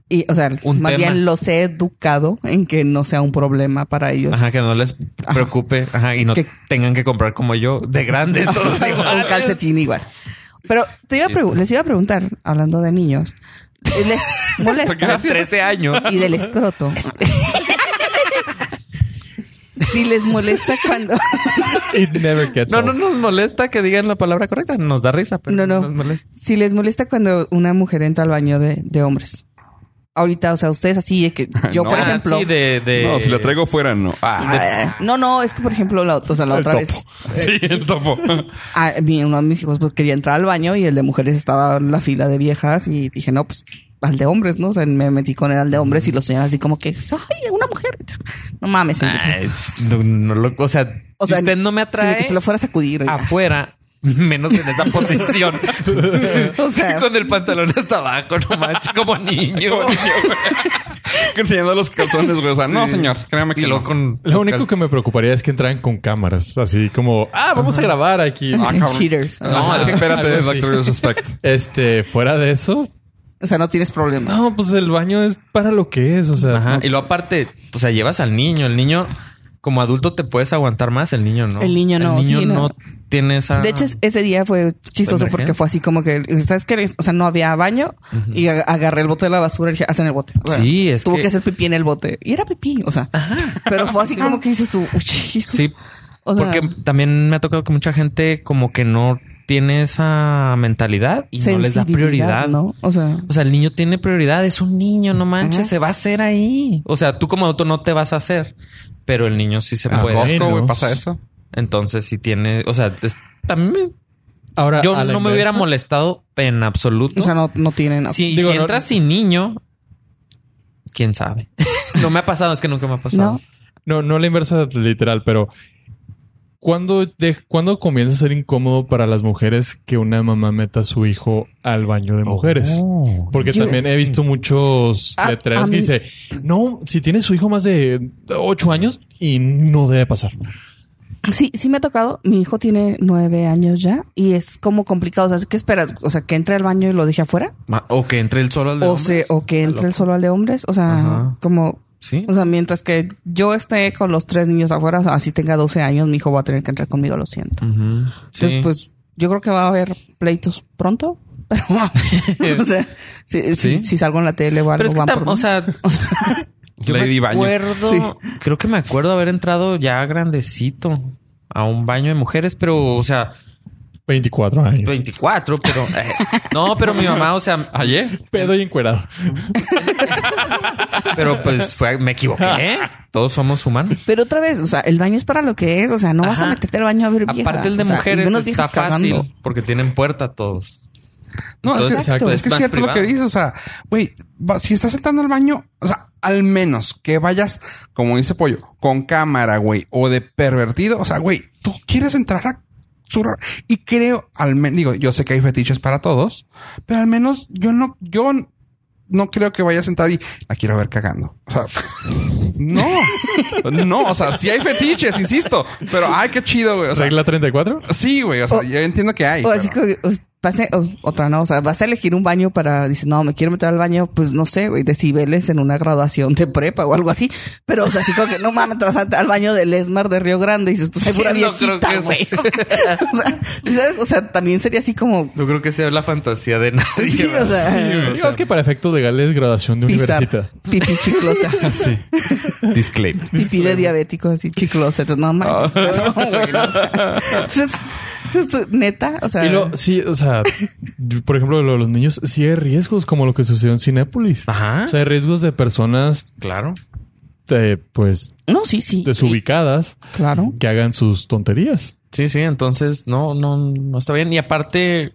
B: y o sea,
C: Un
B: más
C: tema.
B: bien los he educado en que no sea un problema para ellos. [LAUGHS]
C: Ajá, que no les preocupe, ajá, y no
B: Que-
C: tengan que comprar como yo
A: [LAUGHS]
C: de grande todos
B: un
C: [LAUGHS] iguales.
B: calcetín igual. Pero te iba a pregu- les iba a preguntar, hablando de niños, eh,
C: [LAUGHS]
B: ¿les
C: Porque
B: molesta
C: a los
A: [LAUGHS]
C: 13 años.
B: y del escroto? [LAUGHS] si les molesta
C: [LAUGHS]
B: cuando
D: It never gets
C: No,
D: old.
C: no nos molesta que digan la palabra correcta, nos da risa, pero
B: No,
C: no,
B: no.
C: nos molesta.
B: Si les molesta cuando una mujer entra al baño de, de hombres. Ahorita, o sea, ustedes así, es
C: [LAUGHS]
B: que yo,
A: No,
B: por
C: Ah,
B: ejemplo.
C: sí, de, de-
A: No, si lo traigo fuera, no.
B: [LAUGHS]
A: Ah,
B: Ah, No, no, es que por ejemplo, la, o sea, la
D: El
B: otra vez,
D: topo.
A: sí, el topo. [LAUGHS]
B: a mí- uno de mis hijos pues, quería entrar al baño y el de mujeres estaba en la fila de viejas y dije, no, pues al de hombres, ¿no? O sea, me metí con el al de hombres y los señalas así como que, ¡ay, una mujer! No mames, señor.
C: Ay, no, no lo- o sea,
B: O sea,
C: si usted no me
B: Si
C: atrae
B: que se lo fuera a sacudir. oiga.
C: afuera, [LAUGHS] menos en esa posición.
B: [LAUGHS] O sea,
C: [LAUGHS] con el pantalón hasta abajo, no manches, como niño.
A: enseñando los calzones, güey. O sea, no, señor, créame que
C: Y
A: no.
C: luego con...
D: Lo único que me preocuparía es que entraran con cámaras, así como, ah, vamos a grabar aquí. [LAUGHS]
A: Ah, cabrón.
B: Cheaters.
A: No,
D: Ajá.
A: espérate,
D: Algo así.
A: Doctor Disrespect.
D: Este, fuera de eso,
B: O sea, no tienes problema.
D: no, pues el baño es para lo que es, o sea,
C: Ajá.
D: no-
C: Y luego aparte, o sea, llevas al niño. El niño, como adulto, te puedes aguantar más. El niño no.
B: El niño no,
C: El niño
B: sí,
C: no,
B: no.
C: tiene esa...
B: De hecho, es- ese día fue chistoso
C: Ah. Emergencia.
B: porque fue así como que, ¿sabes qué? O sea, no había baño y ag- agarré el bote de la basura y dije, hacen el bote. O sea,
C: Sí, es
B: Tuvo que...
C: que-
B: hacer pipí en el bote. Y era pipí, o sea. Pero fue así como que dices tú, "Uy, Jesus".
C: Sí,
B: O sea,
C: porque también me ha tocado que mucha gente como que no tiene esa mentalidad y no les da
B: sensibilidad,
C: prioridad.
B: ¿no? O sea,
C: O sea, el niño tiene prioridad, es un niño, no manches,
B: Ajá.
C: se va a hacer ahí. O sea, tú como adulto no te vas a hacer, pero el niño sí se
D: Ah,
C: puede.
D: bueno.
A: Gozo, güey, pasa eso.
C: Entonces, si tiene, o sea, es- también
D: ahora
C: yo
D: a la
C: no me hubiera
D: inversa,
C: molestado en absoluto.
B: o sea, no, no tienen.
C: Sí, y
D: Digo,
C: si
D: no-
C: entras sin niño, quién sabe. [LAUGHS] no me ha pasado, es que nunca me ha pasado.
B: No.
D: No, no la inversa literal, pero ¿cuándo, de, ¿cuándo comienza a ser incómodo para las mujeres que una mamá meta a su hijo al baño de mujeres?
C: Oh.
D: Porque
B: Yes. Mm. Ah,
D: también he visto muchos
B: A-
D: letreros
B: a
D: que
B: mí-
D: dice, no, si tiene su hijo más de 8 años y no debe pasar.
B: Sí, sí me ha tocado. Mi hijo tiene nueve años ya y es como complicado. O sea, ¿qué esperas? O sea, que entre al baño y lo deje afuera.
C: Ma- O que entre el solo al de
B: O,
C: hombres.
B: se, o que
C: Está
B: entre el
C: loco.
B: solo al de hombres. O sea,
C: Ajá.
B: como
C: Sí.
B: O sea, mientras que yo esté con los tres niños afuera, o sea, así tenga 12 años, mi hijo va a tener que entrar conmigo, lo siento.
C: Ujú. Mm, Sí.
B: Entonces, pues yo creo que va a haber pleitos pronto, [LAUGHS] pero o sea, si, si-
C: Sí.
B: si salgo en la tele o algo,
C: Pero es que,
B: van
C: tam-
B: por mí.
C: o [LAUGHS] sea, yo
A: Lady
C: me
A: Baño.
C: acuerdo,
B: Sí.
C: creo que me acuerdo haber entrado ya grandecito a un baño de mujeres, pero, o sea,
D: 24 años.
C: 24, pero eh, no, pero mi mamá, o sea,
A: Ayer.
D: Pedo y encuerado.
C: pero pues fue, me equivoqué. Todos somos humanos.
B: Pero otra vez, o sea, el baño es para lo que es, o sea, no vas a
C: Ajá.
B: meterte al baño a ver viejas.
C: Aparte el de
B: o sea, y
C: mujeres
B: menos
C: está
B: viejas cagando.
C: fácil porque tienen puerta todos.
A: No, es que- es
C: Entonces,
A: que,
B: exacto,
A: es,
C: es más
A: cierto lo que
C: privado.
A: dices. O sea, güey, va- si estás entrando al baño, o sea, al menos que vayas, como dice Pollo, con cámara, güey, o de pervertido. O sea, güey, tú quieres entrar a zurrar. Y creo, al menos, digo, yo sé que hay fetiches para todos, pero al menos yo no, yo n- no creo que vayas a entrar y la quiero ver cagando. O sea, [LAUGHS] no, no, o sea, sí hay fetiches, insisto, pero ay, qué chido, güey. O sea,
D: ¿Regla 34?
A: sí, güey, o sea,
B: O-
A: yo entiendo que hay.
B: O así
A: pero-
B: como que, o s- vas a- o- otra no, o sea, vas a elegir un baño para, dices, no, me quiero meter al baño, pues no sé, güey, decibeles en una graduación de prepa o algo así. Pero, o sea, así como que no mames, te vas a entrar al baño del Esmar de Río Grande y dices, pues hay pura
C: [LAUGHS] No creo
B: viejita,
C: que
B: güey. O sea, [LAUGHS] o sea, ¿sí ¿sabes? O sea, también sería así como,
C: No creo que sea la fantasía de nadie.
B: Sí, o
C: ¿verdad?
B: sea,
C: Sí,
D: Digo, es que para efectos legales, graduación de
B: pisar
D: universidad.
B: pipí
C: [LAUGHS]
B: chiclosa.
D: Sí.
C: Disclaimer.
B: Pipí de diabético así chiclosa. Entonces,
C: [LAUGHS]
B: no mames. no, güey, no, o sea, entonces, esto, neta, o sea,
D: Y lo, sí, o sea, por ejemplo, lo de los niños, sí hay riesgos como lo que sucedió en Cinépolis.
C: Ajá.
D: O sea, hay riesgos de personas,
C: Claro.
D: eh, pues,
B: no, sí, sí.
D: desubicadas
B: Claro.
D: que hagan sus tonterías.
C: Sí, sí, entonces no, no, no está bien. Y aparte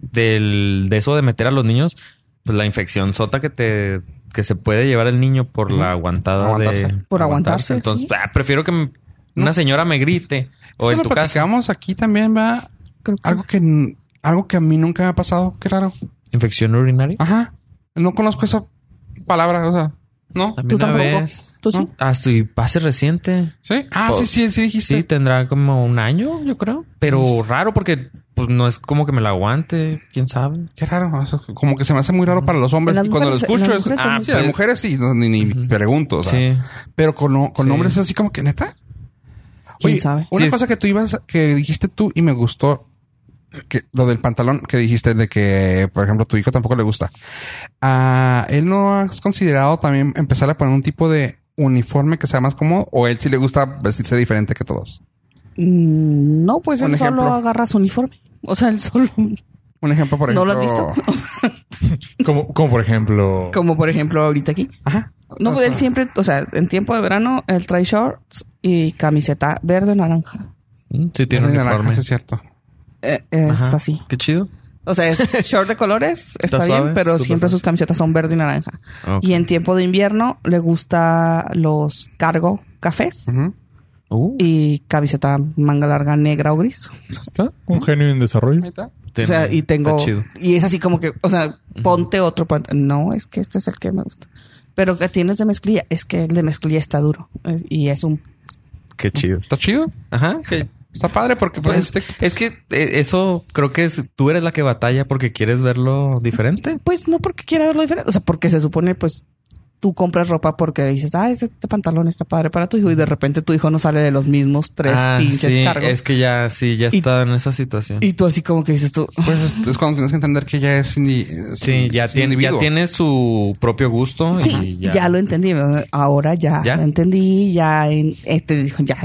C: del, de eso de meter a los niños, pues la infección sota que te que se puede llevar el niño por la aguantada
A: Aguantarse.
C: de
B: Por aguantarse,
C: Entonces,
B: sí.
C: ah, prefiero que m- una señora me grite o
A: Eso
C: en
A: lo
C: tu caso
A: platicamos aquí también, va
B: Creo que-
A: Algo que n- algo que a mí nunca me ha pasado, qué raro.
C: infección urinaria.
B: Ah.
A: Ajá. No conozco esa palabra, o sea, ¿no?
C: También una
A: tampoco?
C: vez.
B: ¿Tú sí?
A: ¿No?
C: Ah, sí, pase reciente.
A: Sí. Ah,
C: Pues,
A: sí, sí, sí dijiste.
C: Sí, tendrá como un año, yo creo. Pero raro porque pues no es como que me la aguante, quién sabe.
A: Qué raro. eso como que se me hace muy raro para los hombres.
B: Las
A: Y cuando lo
B: mujeres-
A: escucho
B: las
A: es.
B: mujeres son
A: Ah,
B: muy-
A: sí, las mujeres sí, no, ni, ni pregunto. o sea.
C: Sí.
A: Pero con, con
C: Sí.
A: hombres es así como que neta.
B: ¿Quién sabe?
A: Una
C: Sí.
A: cosa que tú ibas, que dijiste tú y me gustó, que lo del pantalón que dijiste de que, por ejemplo, tu hijo tampoco le gusta. Ah, ¿Él no has considerado también empezar a poner un tipo de uniforme que sea más cómodo? ¿O él sí le gusta vestirse diferente que todos?
B: Mm, No, pues
A: Un
B: él
A: ejemplo.
B: solo agarra su uniforme. O sea, él solo.
A: Un ejemplo, por
B: ¿No
A: ejemplo.
B: lo has visto?
D: Como, como por ejemplo,
B: Como por ejemplo ahorita aquí.
A: [LAUGHS] Ajá.
B: No,
A: O
B: pues él
A: sea,
B: siempre, o sea, en tiempo de verano, él trae shorts y camiseta verde naranja.
C: Mm, Sí, tiene
A: de naranja,
C: uniforme.
A: sí es cierto.
B: Eh, es
C: Ajá.
B: así.
C: Qué chido.
B: O
A: [LAUGHS]
B: sea, es short de colores, está, bien,
C: suave,
B: pero
C: súper
B: siempre sus
C: fácil.
B: camisetas son verde y naranja.
C: Ok.
B: Y en tiempo de invierno le gusta los cargo cafés
A: Ujú.
C: Uh,
B: y camiseta manga larga negra o gris.
D: está un genio en desarrollo.
B: o sea,
C: tiene-
B: y tengo
C: está chido.
B: y es así como que, o sea, ponte otro pant- No, es que este es el que me gusta. Pero que tienes de mezclilla, es que el de mezclilla está duro. Es- y es un...
E: Qué chido.
A: Está chido.
C: Ajá. Que,
A: Está padre porque
C: pues,
A: puedes... te-
C: es que eh, eso creo que es- tú eres la que batalla porque quieres verlo diferente.
B: Pues no porque quiera verlo diferente. O sea, porque se supone, pues, tú compras ropa porque dices, ah, este pantalón está padre para tu hijo. Y de repente tu hijo no sale de los mismos tres
C: Ah,
B: pinches
C: sí,
B: cargos.
C: Es que ya, sí, ya
B: Y-
C: está en esa situación.
B: Y tú así como que dices tú...
A: Pues es, es cuando tienes que entender que ya es... indi- es
C: sí, ya
A: es
C: tiene, ya
A: individuo.
C: tiene su propio gusto.
B: Sí,
C: y
B: ya. lo entendí. ¿verdad? Ahora ya,
C: ¿Ya?
B: lo entendí. Ya en- este dijo, ya.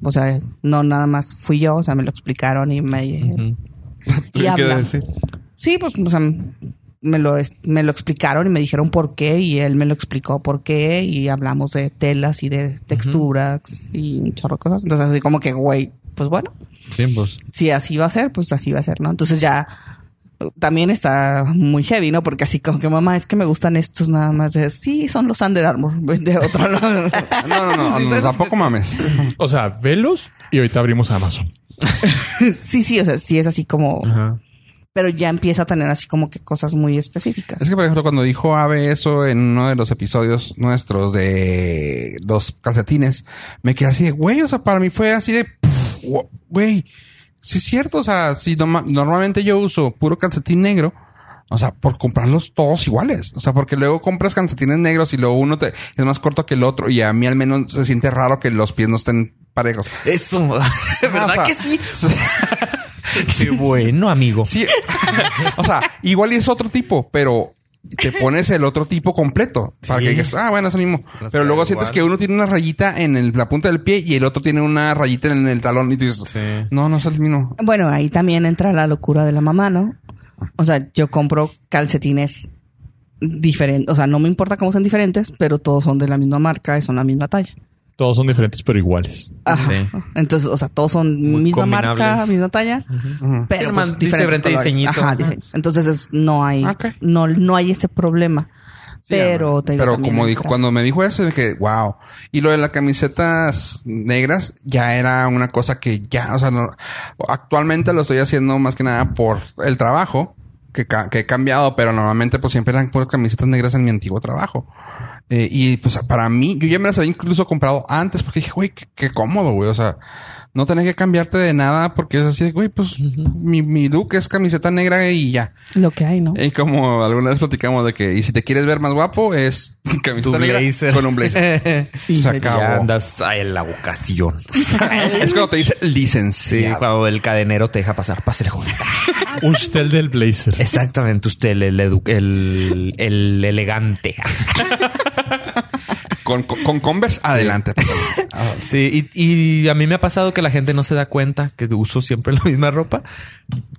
B: O sea, no nada más fui yo, o sea, me lo explicaron y me.
C: Ujú.
A: [LAUGHS] Tuvieron
B: y
A: que
B: habla.
A: decir.
B: Sí, pues, o sea, me lo, es- me lo explicaron y me dijeron por qué, y él me lo explicó por qué, y hablamos de telas y de texturas y un chorro de cosas. Entonces, así como que, güey, pues bueno,
C: Sí, pues.
B: si así va a ser, pues así va a ser, ¿no? Entonces ya eh, también está muy heavy, ¿no? Porque así como que mamá, es que me gustan estos nada más de sí, son los Under Armour [LAUGHS] de otro lado.
A: Ah, No, no, no,
B: [LAUGHS] Sí,
A: no,
B: ¿sabes?
A: tampoco mames.
D: O sea, velos y ahorita abrimos Amazon.
B: Sí, sí, o sea, sí es así como, pero ya empieza a tener así como que cosas muy específicas.
A: Es que, por ejemplo, cuando dijo Ave eso en uno de los episodios nuestros de los calcetines, me quedé así de, güey, o sea, para mí fue así de, pff, wo- güey, sí es cierto, o sea, si noma- normalmente yo uso puro calcetín negro, o sea, por comprarlos todos iguales. O sea, porque luego compras calcetines negros y luego uno te, es más corto que el otro y a mí al menos se siente raro que los pies no estén parejos. [LAUGHS]
C: Eso. [LAUGHS]
A: O sea,
C: ¿Verdad que sí? Qué bueno, amigo.
A: Sí. [LAUGHS] o sea, igual y es otro tipo, pero te pones el otro tipo completo para
C: Sí.
A: que digas, ah, bueno, es el mismo.
C: Las
A: pero luego
C: traes
A: sientes
C: igual.
A: que uno tiene una rayita en el- la punta del pie y el otro tiene una rayita en el talón y tú dices,
C: Sí.
A: no, no es el mismo.
B: Bueno, ahí también entra la locura de la mamá, ¿no? O sea, yo compro calcetines diferentes, o sea, no me importa cómo sean diferentes, pero todos son de la misma marca y son la misma talla.
D: Todos son diferentes, pero iguales.
B: Ajá.
C: Sí.
B: Entonces, o sea, todos son
C: Muy
B: misma marca,
C: combinables.
B: misma talla,
A: Ujú.
C: Sí,
B: pero
C: nomás
B: pues, diferentes
C: diferente
B: colores.
C: diseñito.
B: Ajá,
C: Ajá.
B: diseños. Entonces es- no hay,
A: Ok.
B: no, no hay ese problema. pero te digo,
A: Pero
B: también
A: como dijo,
B: entra-
A: cuando me dijo eso, dije, wow. Y lo de las camisetas negras ya era una cosa que ya, o sea, no- actualmente lo estoy haciendo más que nada por el trabajo que, ca- que he cambiado, pero normalmente pues siempre eran puras camisetas negras en mi antiguo trabajo. Eh, y pues para mí, yo ya me las había incluso comprado antes porque dije, güey, qué, qué cómodo, güey. O sea, no tenés que cambiarte de nada porque es así, de, güey, pues mi, mi look es camiseta negra y ya.
B: lo que hay, ¿no?
A: Y como alguna vez platicamos de que, y si te quieres ver más guapo, es
C: Tu
A: camiseta negra
C: blazer.
A: con un
C: [LAUGHS]
A: blazer. Se acabó.
C: Ya andas a la vocación.
A: Es cuando te dice
C: Sí,
A: licenciado.
C: cuando el cadenero te deja pasar. Pásale, joven. Ah,
D: Usted del blazer.
C: Exactamente. Usted, el, edu- el- el elegante.
A: Con, con, con Converse, adelante. por favor. Ah,
C: Sí, y, y a mí me ha pasado que la gente no se da cuenta que uso siempre la misma ropa.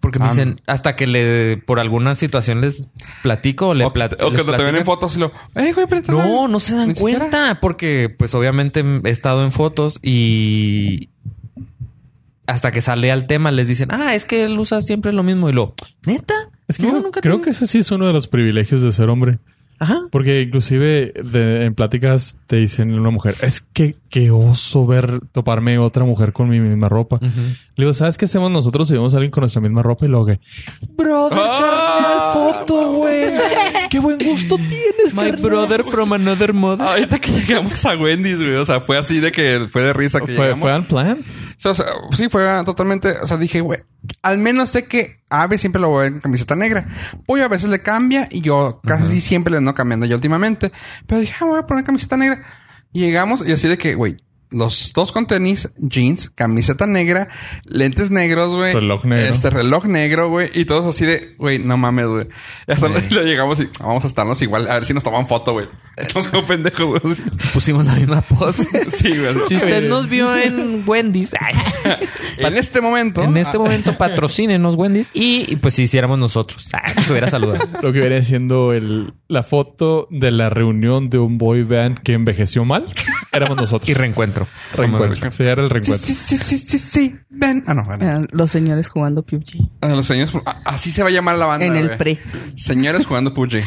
C: Porque me
A: Ah.
C: dicen, hasta que le por alguna situación les platico o le
A: o,
C: plat-
A: o que
C: les
A: te ven en
C: platican.
A: fotos y lo... "Ey, güey, pero te-
C: No, no se dan
A: ni
C: cuenta,
A: siquiera".
C: porque pues obviamente he estado en fotos y hasta que sale al tema les dicen, ah, es que él usa siempre lo mismo y lo, neta,
D: Es que
C: No,
D: creo,
C: nunca
D: creo
C: te-
D: que ese sí es uno de los privilegios de ser hombre.
C: Ajá.
D: Porque inclusive de- en pláticas te dicen una mujer, es que qué oso ver toparme otra mujer con mi misma ropa.
C: Ujú.
D: Le digo, ¿sabes qué hacemos nosotros si vemos a alguien con nuestra misma ropa? Y luego que, brother,
A: Ah,
D: carnal, foto, güey. [LAUGHS] Qué buen gusto tienes,
C: My
D: carnal".
C: brother from another mother.
A: Ahorita que llegamos a Wendy's, güey. O sea, fue así de que fue de risa que
D: Fue,
A: llegamos.
D: fue al plan.
A: O sea, sí, fue totalmente. O sea, dije, güey, al menos sé que Ave siempre lo voy a ver con camiseta negra. Pollo a veces le cambia y yo casi siempre le ando cambiando yo últimamente. Pero dije, ah, voy a poner camiseta negra. Y llegamos y así de que, güey, los dos con tenis, jeans, camiseta negra, lentes negros, güey.
D: Reloj negro.
A: Este reloj negro, güey. Y todos así de, güey, no mames, güey. Y hasta lo llegamos y vamos a estarnos igual. A ver si nos toman foto, güey. [LAUGHS] Estamos como pendejos, güey.
C: Pusimos la misma
D: [LAUGHS]
C: pose.
A: Sí, güey.
C: si usted nos vio en Wendy's, ay,
A: En este momento.
C: en este
A: ah,
C: momento patrocínenos Wendy's y, y, pues si hiciéramos nosotros, ay, se hubiera saludado.
D: Lo que viene siendo el, la foto de la reunión de un boy band que envejeció mal. [LAUGHS] Éramos nosotros.
C: Y reencuentro.
D: reencuentro. Sí, era el
A: Sí,
D: reencuentro.
A: sí, sí, sí, sí, sí. Ven. Ah, no, ven.
B: Eh, Los señores jugando PUBG
A: A Ah, los señores, a- así se va a llamar la banda.
B: en el
A: güey.
B: pre.
A: Señores jugando
B: [LAUGHS]
A: PUBG.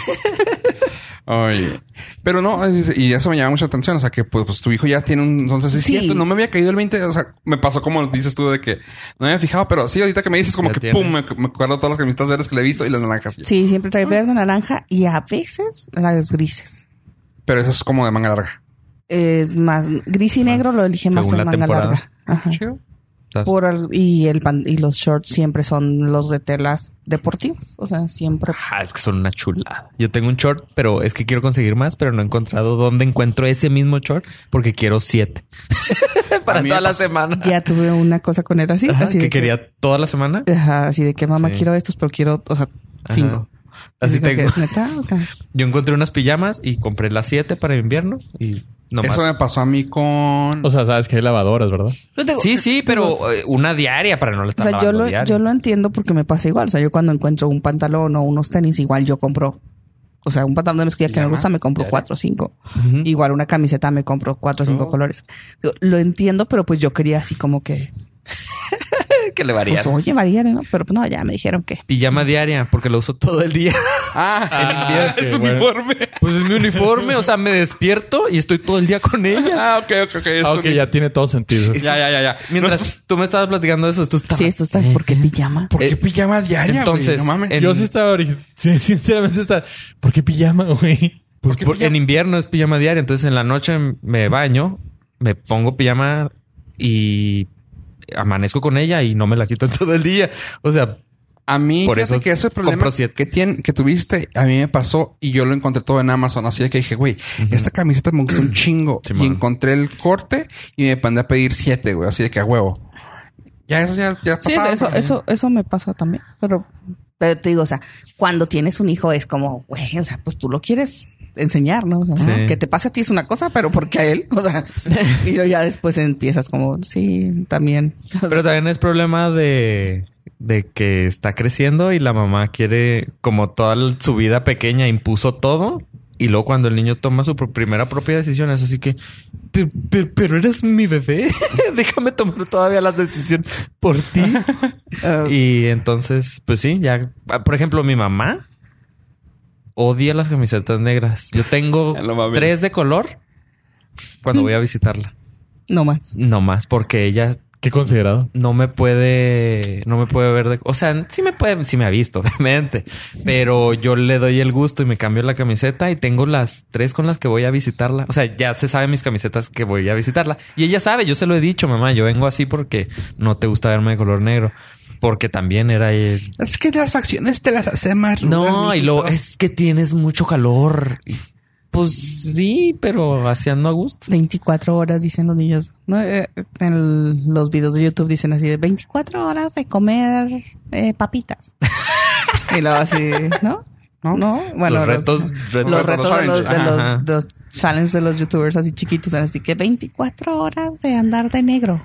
A: Oye. Pero no, es- y eso me llama mucha atención. O sea, que pues, pues, tu hijo ya tiene un. Entonces, es
B: Sí.
A: cierto, no me había caído el 20. O sea, me pasó como dices tú de que no me había fijado, pero sí, ahorita que me dices, como
C: Ya
A: que
C: tiene.
A: pum, me, me acuerdo todas las camisetas verdes que le he visto y las naranjas.
B: Sí, siempre trae verde, naranja y a veces las grises.
A: Pero eso es como de manga larga.
B: Es más gris y negro, lo elige más
C: según
B: en
C: la
B: manga
C: temporada.
B: larga. Ajá.
A: Chido.
C: Estás-
B: Por el- y, el pan- y los shorts siempre son los de telas deportivas. O sea, siempre.
C: Ah, es que son una chulada. Yo tengo un short, pero es que quiero conseguir más, pero no he encontrado dónde encuentro ese mismo short porque quiero siete
A: A
C: para
A: mí me
C: toda la
A: pasó-
C: semana.
B: Ya tuve una cosa con él así.
C: Ajá,
B: así
C: que
B: de que-
C: quería toda la semana.
B: Ajá, así de que mamá
C: Sí.
B: quiero estos, pero quiero, o sea,
C: Ajá.
B: cinco.
C: Así
B: Y dijo
C: tengo.
B: que, ¿Neta? O sea,
C: Yo encontré unas pijamas y compré las siete para invierno y nomás.
A: Eso me pasó a mí con...
D: O sea, sabes que hay lavadoras, ¿verdad?
B: yo tengo-
C: Sí, sí, pero eh, una diaria para no la
B: O
C: estar
B: sea, yo
C: lavando
B: lo,
C: diario.
B: yo lo entiendo porque me pasa igual. O sea, yo cuando encuentro un pantalón o unos tenis, igual yo compro. O sea, un pantalón de mezclilla que me
A: Ajá,
B: gusta, me compro
A: claro.
B: cuatro o cinco.
C: Ujú.
B: Igual una camiseta, me compro cuatro o cinco
A: Oh.
B: colores. Digo, Lo entiendo, pero pues yo quería así como que,
C: que le
B: pues
C: varía.
B: oye, varía, ¿no? Pero pues no, ya me dijeron que.
C: Pijama diaria porque lo uso todo el día. [LAUGHS]
A: Ah, [LAUGHS]
D: Ah,
A: es
D: ok, bueno.
A: uniforme.
C: Pues es mi uniforme, o sea, me despierto y estoy todo el día con ella.
A: Ah, ok, ok, ok. es
D: Ah, ok,
A: un-
D: ya tiene todo sentido.
A: [LAUGHS] Ya, ya, ya, ya.
C: Mientras
A: No, es-
C: tú me estabas platicando eso, tú estabas
B: Sí, esto está porque pijama.
A: ¿Por qué
C: Eh,
A: pijama [LAUGHS] diaria,
C: entonces,
A: Entonces, No mames.
C: en-
D: Yo sí [LAUGHS] estaba... ori- sí, [LAUGHS] sinceramente está... ¿Por qué pijama, güey?
C: Pues
A: qué
C: por-
A: pijama?
C: en invierno es pijama diaria, entonces en la noche me baño, me pongo pijama y amanezco con ella y no me la quito en todo el día. O sea,
A: A mí,
C: Por
A: por
C: eso
A: eso que ese
C: compro
A: problema
C: siete.
A: que, tien- que tuviste, a mí me pasó y yo lo encontré todo en Amazon. Así de que dije, güey, esta camiseta me gustó un chingo.
C: Sí,
A: y
C: man.
A: encontré el corte y me mandé a pedir siete, güey. Así de que a huevo. Ya, eso ya, ya
B: Sí,
A: pasaba,
B: eso,
A: pero-
B: eso, eso me pasa también. Pero, pues, eh. pero te digo, o sea, cuando tienes un hijo es como, güey, o sea, pues tú lo quieres enseñar, ¿no? O sea,
C: Sí.
B: que te pase a ti es una cosa, pero porque a él, [LAUGHS] o sea, y luego ya después empiezas como, sí, también. O sea,
C: pero también es problema de, de que está creciendo y la mamá quiere, como toda l- su vida pequeña, impuso todo. Y luego cuando el niño toma su pro- primera propia decisión, es así que, "Pe- pe- pero eres mi bebé, [LAUGHS] déjame tomar todavía las decisiones por
A: [LAUGHS]
C: ti.
B: eh,
C: Y entonces, pues sí, ya. ah, Por ejemplo, mi mamá odia las camisetas negras. Yo
A: [LAUGHS]
C: tengo
A: Ya lo mames.
C: tres de color cuando voy a visitarla.
B: no más.
C: No más, porque ella
D: Qué considerado.
C: no me puede, no me puede ver de. O sea, sí me puede, sí me ha visto, [LAUGHS] obviamente. Pero yo le doy el gusto y me cambio la camiseta y tengo las tres con las que voy a visitarla. O sea, ya se sabe mis camisetas que voy a visitarla. Y ella sabe, yo se lo he dicho, mamá, yo vengo así porque no te gusta verme de color negro. Porque también era eh,
A: Es que las facciones te las hace más.
C: no,
A: rudas,
C: y luego
A: mijito.
C: es que tienes mucho calor. Pues sí, pero haciendo a gusto.
B: 24 horas, dicen los niños. ¿no? Eh, En el- los videos de YouTube dicen así de 24 horas de comer eh,
C: [LAUGHS]
B: papitas. y luego así, ¿no? No, bueno,
C: los retos, [LAUGHS] retos-
B: los retos de los, de los,
C: Ajá.
B: de los challenges de los youtubers así chiquitos, así que 24 horas de andar de negro.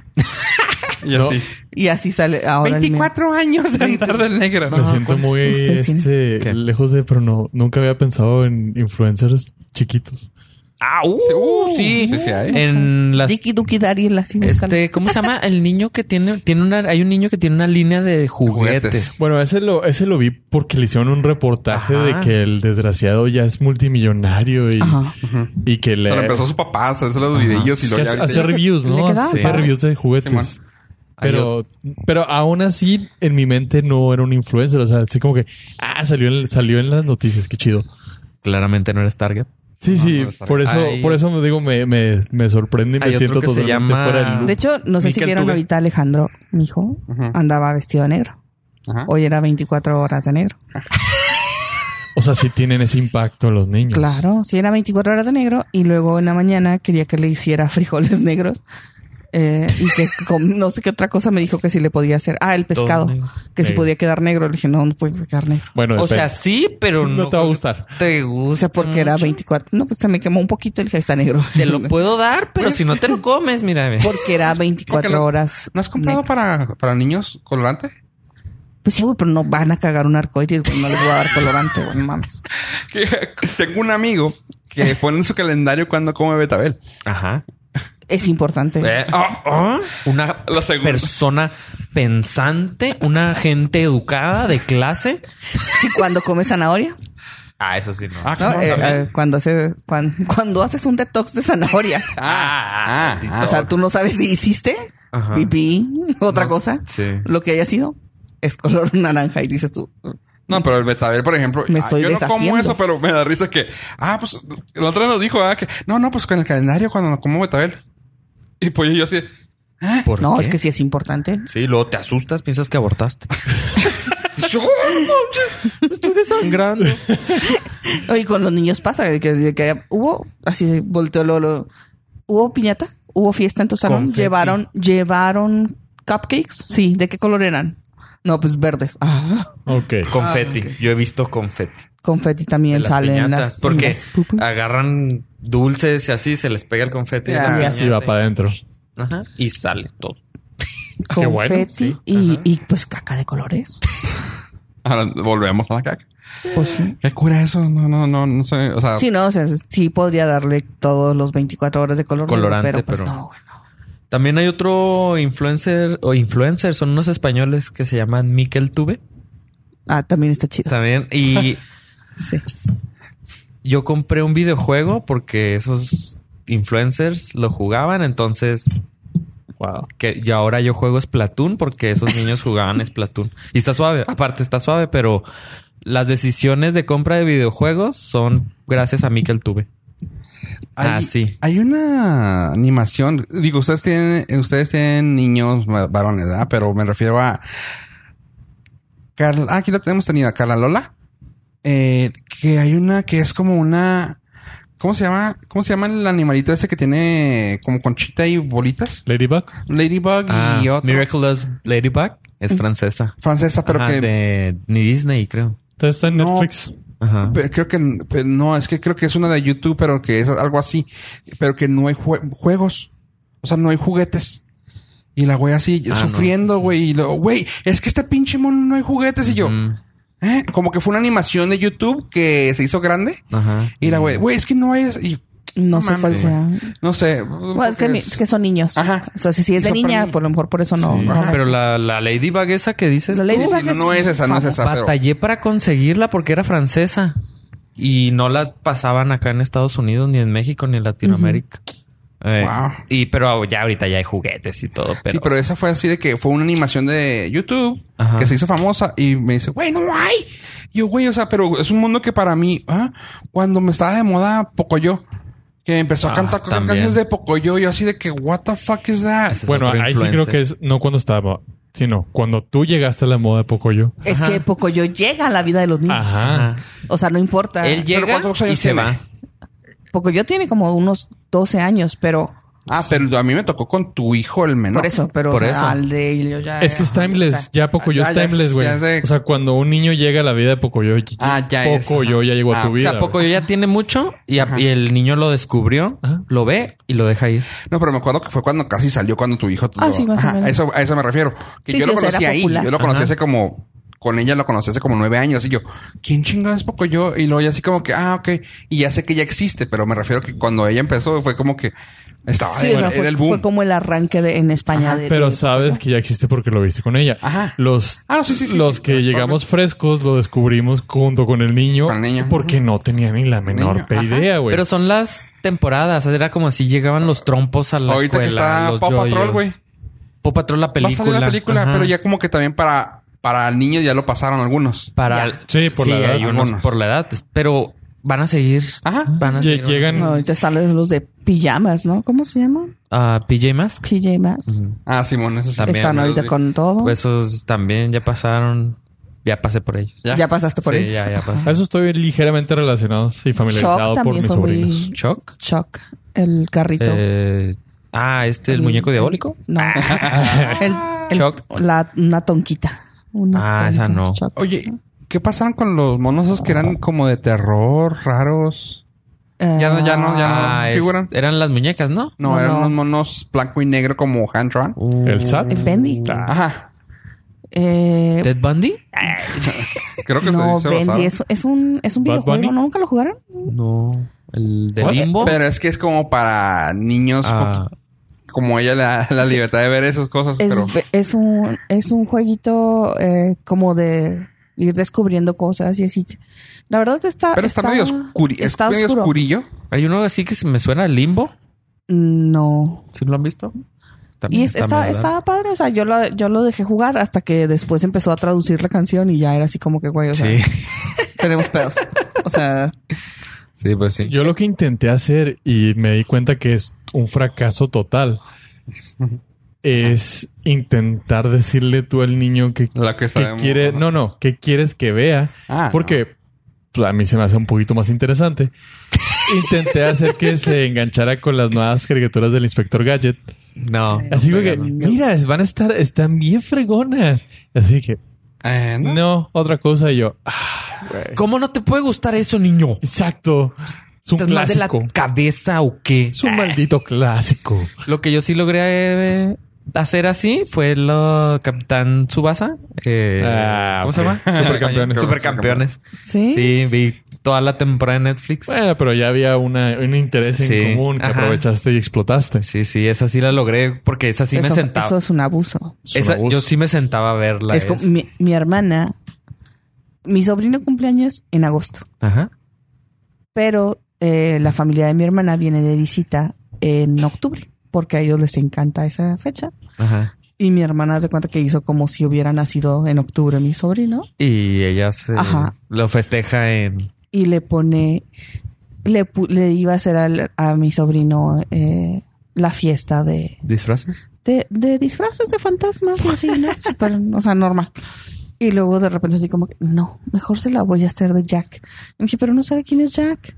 A: Y
D: No.
A: así.
B: Y así sale ahora el meme.
A: 24 años de andar del negro.
C: Pues
D: Me siento
B: ¿cuál es-
D: muy
B: usted tiene?
D: este,
C: ¿Qué?
D: lejos de, pero no, nunca había pensado en influencers chiquitos.
C: Ah, uh,
A: Sí, uh,
C: sí.
A: sí, sí hay.
C: En las
B: Diki Duki Dari, así búscalo.
C: este, ¿cómo se llama? El niño que tiene, tiene una, hay un niño que tiene una línea de juguetes.
A: Juguetes.
D: Bueno, ese lo, ese lo vi porque le hicieron un reportaje
C: Ajá.
D: de que el desgraciado ya es multimillonario y,
B: Ajá.
D: y que
A: Se
D: le...
A: lo empezó su papá a hacer los
C: Ajá.
A: videos y lo
D: que hace- hacía reviews,
B: Le
D: ¿no?
B: quedaba
D: Hacía
B: padre.
D: reviews de juguetes.
A: Simón.
D: pero, pero aún así, en mi mente no era un influencer. O sea, así como que, ah, salió en, salió en las noticias, qué chido.
C: Claramente no eres Target.
D: Sí,
A: No,
D: sí,
A: no está
D: por
C: bien.
D: eso,
C: Hay-
D: por eso me digo, me, me, me sorprende y
C: Hay
D: me
C: otro
D: siento
C: que se
D: totalmente
C: llama-
D: fuera del loop.
B: De hecho, no sé si
C: Miquel
B: vieron
C: Tuve.
B: ahorita Alejandro, mi hijo,
A: Ajá.
B: andaba vestido de negro.
A: Ajá.
B: Hoy era 24 horas de negro.
D: O sea, sí tienen ese impacto en los niños.
B: Claro, sí era 24 horas de negro y luego en la mañana quería que le hiciera frijoles [LAUGHS] negros. eh, y que con- no sé qué otra cosa me dijo que si le podía hacer. Ah, el
C: Todo
B: pescado.
C: negro.
B: Que si
D: Negro.
B: podía quedar negro. Le dije, no, no puede quedar negro.
D: Bueno,
C: O sea,
D: depende.
C: sí, pero no,
D: no, te va a gustar.
C: te
B: O
C: gusta.
B: sea, porque era
C: mucho.
B: 24. No, pues se me quemó un poquito el que está negro.
C: Te
B: [LAUGHS]
C: lo puedo dar, pero si no te lo comes, mira. [LAUGHS] ve.
B: Porque era 24
A: Porque lo-
B: horas.
A: ¿No has comprado
B: negro.
A: para, para niños colorante?
B: Pues sí, güey, pero no van a cagar un arcoíris, güey. No les voy a dar colorante, güey. No mames.
A: Que- [LAUGHS] Tengo un amigo que pone en su calendario cuando come betabel.
C: Ajá.
B: Es importante.
C: Eh, ah, ah. Una
A: La segunda.
C: persona pensante, una gente educada de clase.
B: Sí, cuando comes zanahoria,
C: Ah, eso sí, no.
A: Ah,
B: ¿no?
A: cabrón,
B: Eh,
A: también.
B: eh, cuando, hace, cuan- cuando, haces un detox de zanahoria.
A: Ah,
C: Ah,
A: ah,
B: O sea, tú no sabes si hiciste
C: Ajá.
B: pipí, otra
C: No,
B: cosa,
C: sí.
B: [LAUGHS] lo que haya sido, es color naranja y dices tú,
A: No, pero el betabel, por ejemplo,
B: Me
A: ah,
B: estoy
A: yo no como
B: deshaciendo.
A: eso, pero me da risa que, ah, pues el otro nos dijo, ah, que no, no, pues con el calendario cuando no como betabel. Y pues yo así, ¿Ah?
C: ¿Por
B: No,
C: qué?
B: es que sí es importante.
C: Sí, luego te asustas, piensas que abortaste. [LAUGHS] Yo, manches, me estoy desangrando.
B: Oye, con los niños pasa de que, de que hubo, así de volteó Lolo. ¿Hubo piñata? ¿Hubo fiesta en tu salón?
C: Confeti.
B: ¿Llevaron, llevaron cupcakes? Sí. ¿De qué color eran? No, pues verdes. Ah,
D: Ok.
C: Confeti.
B: Ah, ok.
C: Yo he visto confeti.
B: confeti
C: De
B: también
C: las
B: sale en
C: piñatas.
B: las.
C: porque ah,
B: en las pupu-
C: agarran dulces y así se les pega el confeti. de la
A: Ya.
C: piñata
D: Y va para adentro.
C: Ajá. Y sale todo.
D: qué bueno,
B: confeti
D: sí.
B: y, y, pues caca de colores.
A: ahora volvemos a la caca.
B: Pues sí.
A: ¿Qué cura eso? No, no, no, no sé. O
C: Ah.
A: sea,
B: Sí, no, o sea, sí podría darle todos los 24 horas de color. negro,
C: Colorante,
B: pero pues
C: pero-
B: no, güey, no.
C: También hay otro influencer o influencer, son unos españoles que se llaman Miquel Tube.
B: Ah, también está chido.
C: También.
D: [LAUGHS]
C: Y
B: Sí.
C: yo compré un videojuego porque esos influencers lo jugaban. Entonces,
D: Wow.
C: que y ahora yo juego Splatoon porque esos niños jugaban Splatoon. Y está suave. Aparte, está suave, pero las decisiones de compra de videojuegos son gracias a Miquel Tube.
A: hay,
C: Ah, sí.
A: Hay una animación. Digo, ustedes tienen, ustedes tienen niños va- varones, ¿verdad? Pero me refiero a. Carla- ah, aquí lo tenemos tenida, Carla Lola. Eh, que hay una que es como una. ¿Cómo se llama? ¿Cómo se llama el animalito ese que tiene como conchita y bolitas?
D: Ladybug.
A: Ladybug
C: Ah,
A: y otro.
C: Miraculous Ladybug es francesa.
A: Francesa, pero
C: Ajá,
A: que.
C: de ni Disney, creo.
D: Entonces está en
A: No.
D: Netflix.
C: Ajá.
A: Pe- Creo que pe- no, es que creo que es una de YouTube, pero que es algo así. Pero que no hay jue- juegos. O sea, no hay juguetes. Y la güey así
C: Ah,
A: sufriendo, güey. Y luego, güey, es que este pinche mono no hay juguetes. Y yo,
C: Mm,
A: ¿eh? Como que fue una animación de YouTube que se hizo grande.
C: Ajá.
A: Y la güey, güey, es que no hay. es-". Y
B: No,
A: No
B: sé cuál
A: mames.
B: sea.
A: no sé.
B: Bueno, es que, mi-
A: es-
B: es que son niños.
A: Ajá.
B: O sea, si, si es
A: Y
B: de
A: son para
B: niña,
A: mí.
B: por lo mejor por eso no.
D: Sí.
B: no.
A: Ajá.
C: Pero la, la Ladybug esa que dices,
B: La
C: tú,
B: Lady
A: Sí, sí,
B: Gaga
A: no, no es esa, no es esa. pero-
C: batallé para conseguirla porque era francesa. Y no la pasaban acá en Estados Unidos, ni en México, ni en Latinoamérica. Eh,
A: Wow.
C: Y pero ya ahorita ya hay juguetes y todo. Pero,
A: Sí, pero esa fue así de que fue una animación de YouTube
C: Ajá.
A: que se hizo famosa y me dice, güey, no hay. Y yo, güey, o sea, pero es un mundo que para mí, ah, cuando me estaba de moda, Pocoyo, que empezó a
C: Ah,
A: cantar ca-
C: también.
A: canciones de Pocoyo, yo así de que, what the fuck is that?
C: Ese es
D: Bueno,
C: otro
D: ahí sí creo
C: influencer.
D: que es no cuando estaba, sino cuando tú llegaste a la moda poco yo.
B: Es
C: Ajá.
B: que Pocoyo llega a la vida de los niños.
D: Ajá.
C: Ajá.
B: O sea, no importa.
C: Él llega
A: ¿cuántos
C: y
A: años
C: se
A: tiene?
C: va.
B: Pocoyo tiene como unos 12 años, pero.
A: Ah, pero a mí me tocó con tu hijo el menor.
B: Por eso, pero
C: por
B: o sea,
C: eso.
B: al de ellos ya.
D: Es que es
B: ajá, o
D: timeless,
B: sea,
D: ya poco yo
A: ah,
D: es
A: ya es-
D: timeless, güey.
A: ya es de-
D: O sea, cuando un niño llega a la vida de poco yo,
A: Ah, ya es.
D: poco yo ya llegó a
A: Ah,
D: tu
A: o
C: O
D: vida.
C: sea, poco yo ya tiene mucho y, a-
A: Ajá.
C: y el niño lo descubrió,
D: Ajá.
C: lo ve y lo deja ir.
A: No, pero me acuerdo que fue cuando casi salió cuando tu hijo.
B: Ah, sí, más o
A: Ajá,
B: menos.
A: A eso, a eso me refiero. Que
B: Sí,
A: yo
B: sí,
A: lo
B: o sea, era
A: conocí ahí.
B: popular.
A: Yo lo conocí
C: Ajá.
A: hace como. Con ella lo conocí hace como nueve años. Y yo, ¿quién chingado es poco yo? Y luego ya así como que, ah, ok. Y ya sé que ya existe, pero me refiero que cuando ella empezó fue como que estaba
B: Sí,
A: era-
B: o sea,
A: era
B: fue,
A: el boom.
B: fue como el arranque de- en España. de, de-
D: Pero sabes que ya existe porque lo viste con ella.
A: Ajá.
D: Los,
A: Ah, sí, sí, sí,
D: los
A: sí.
D: que llegamos frescos lo descubrimos junto con el niño.
A: Con el niño.
D: Porque no tenía ni la menor
A: Niño. Ajá.
D: idea, güey.
C: Pero son las temporadas. Era como si llegaban los trompos a la
A: Ahorita que
C: escuela.
A: está
C: los
A: Paw Patrol,
C: yoyos.
A: güey.
C: Paw Patrol la
A: Va a
C: película.
A: salir la película,
C: Ajá.
A: pero ya como que también para, para niños ya lo pasaron algunos.
C: Para...
D: Sí, por la edad.
C: hay unos
A: Algunos. Ah.
C: por la edad. Pero van a seguir...
A: Ajá.
B: Ah,
C: Van a
D: Lle-
C: seguir...
D: llegan.
B: No, ahorita están los los de pijamas, ¿no? ¿Cómo se llaman?
C: a PJ Mask.
B: Pijamas.
A: Ah, Simón, eso sí.
C: También,
B: Están ahorita con todo.
C: Pues esos también ya pasaron. Ya pasé por ellos.
A: Ya.
B: ya. pasaste por
C: Sí,
B: ellos.
C: ya, ya
B: Ajá.
C: pasé.
D: A eso estoy ligeramente relacionado y familiarizado
B: Shock
D: por
B: también
D: mis
B: fue
D: sobrinos.
B: muy.
C: Shock.
B: Shock, el carrito.
C: Eh, ah, este, el,
B: El-
C: muñeco diabólico. [LAUGHS]
B: No. el, el-
C: Shock.
B: La, una tonquita. Una
C: Ah, esa
B: tonca,
C: no.
B: shock.
A: Oye, ¿qué pasaron con los monos esos que eran como de terror, raros? ya no- ya no- ya no.
B: Ah,
C: Ah, es-
A: figuran.
C: eran las muñecas, ¿no?
A: No,
B: No,
A: eran
B: no.
A: unos monos blanco y negro como hand drawn.
C: Uh.
D: ¿El SAT?
B: El eh, Bendy.
A: Mm.
D: Ah,
A: Ajá.
B: Eh,
C: ¿Ted Bundy?
A: Creo que
B: [LAUGHS] no,
A: se, se basaron.
B: Bendy es, es un, es un
D: Bad
B: videojuego.
D: Bunny.
B: ¿no? ¿Nunca lo jugaron?
C: No. ¿El de
A: Oye,
C: Limbo?
A: Eh, Pero es que es como para niños,
C: Ah,
A: como- como ella la, la libertad de ver esas cosas,
B: Es,
A: Pues, pero
B: es, un, es un jueguito eh, como de ir descubriendo cosas y así. La verdad está...
A: pero está, medio oscuri- es
B: está
A: medio
B: oscuro.
A: oscurillo.
C: hay uno así que se me suena a Limbo.
B: No.
C: ¿Sí lo han visto? También
B: Y es-
C: está
B: estaba,
C: medio
B: estaba padre, o sea, yo lo, yo lo dejé jugar hasta que después empezó a traducir la canción y ya era así como que, güey, o sea,
C: Sí,
B: [LAUGHS] tenemos pedos. O sea,
C: sí, pues sí.
D: Yo lo que intenté hacer y me di cuenta que es un fracaso total es intentar decirle tú al niño que,
A: La que
D: que
A: está de-
D: quiere, no, no, que quieres que vea,
A: Ah,
D: porque pues, a mí se me hace un poquito más interesante. Intenté hacer que se enganchara con las nuevas caricaturas del Inspector Gadget.
C: [LAUGHS] No.
D: Así
C: no
D: que,
C: pega, no.
D: mira, es- van a estar, están bien fregonas. Así que,
A: no. Eh, no.
D: no, otra cosa. Y yo, ah, güey.
C: ¿Cómo no te puede gustar eso, niño?
D: exacto. Es un
C: ¿Estás mal de la
D: clásico.
C: cabeza o qué?
D: Es un maldito clásico.
C: Lo que yo sí logré eh, hacer así fue lo Capitán Subasa. eh,
D: Ah,
C: ¿Cómo se
D: ok.
C: llama?
D: Supercampeones.
C: [LAUGHS] Supercampeones.
B: sí.
C: Sí, vi toda la temporada en Netflix.
D: Bueno, pero ya había una, un interés
C: Sí,
D: en común que
C: ajá.
D: aprovechaste y explotaste.
C: Sí, sí, esa sí la logré porque esa sí me
B: eso,
C: sentaba.
B: eso es un abuso.
D: Es un
C: Esa-
D: abuso.
C: yo sí me sentaba a verla.
B: es como
C: esa.
B: mi, mi hermana, mi sobrino cumpleaños en agosto,
C: Ajá.
B: pero eh, la familia de mi hermana viene de visita en octubre porque a ellos les encanta esa fecha.
C: Ajá.
B: Y mi hermana se cuenta que hizo como si hubiera nacido en octubre mi sobrino
C: Y ella se
B: Ajá.
C: lo festeja en.
B: y le pone, le, pu- le iba a hacer al- a mi sobrino eh, la fiesta de,
C: ¿Disfraces?
B: de, de disfraces de fantasmas y así, ¿no? Súper, o sea, normal. Y luego de repente así como que, no, mejor se la voy a hacer de Jack. Y dije, pero no sabe quién es Jack.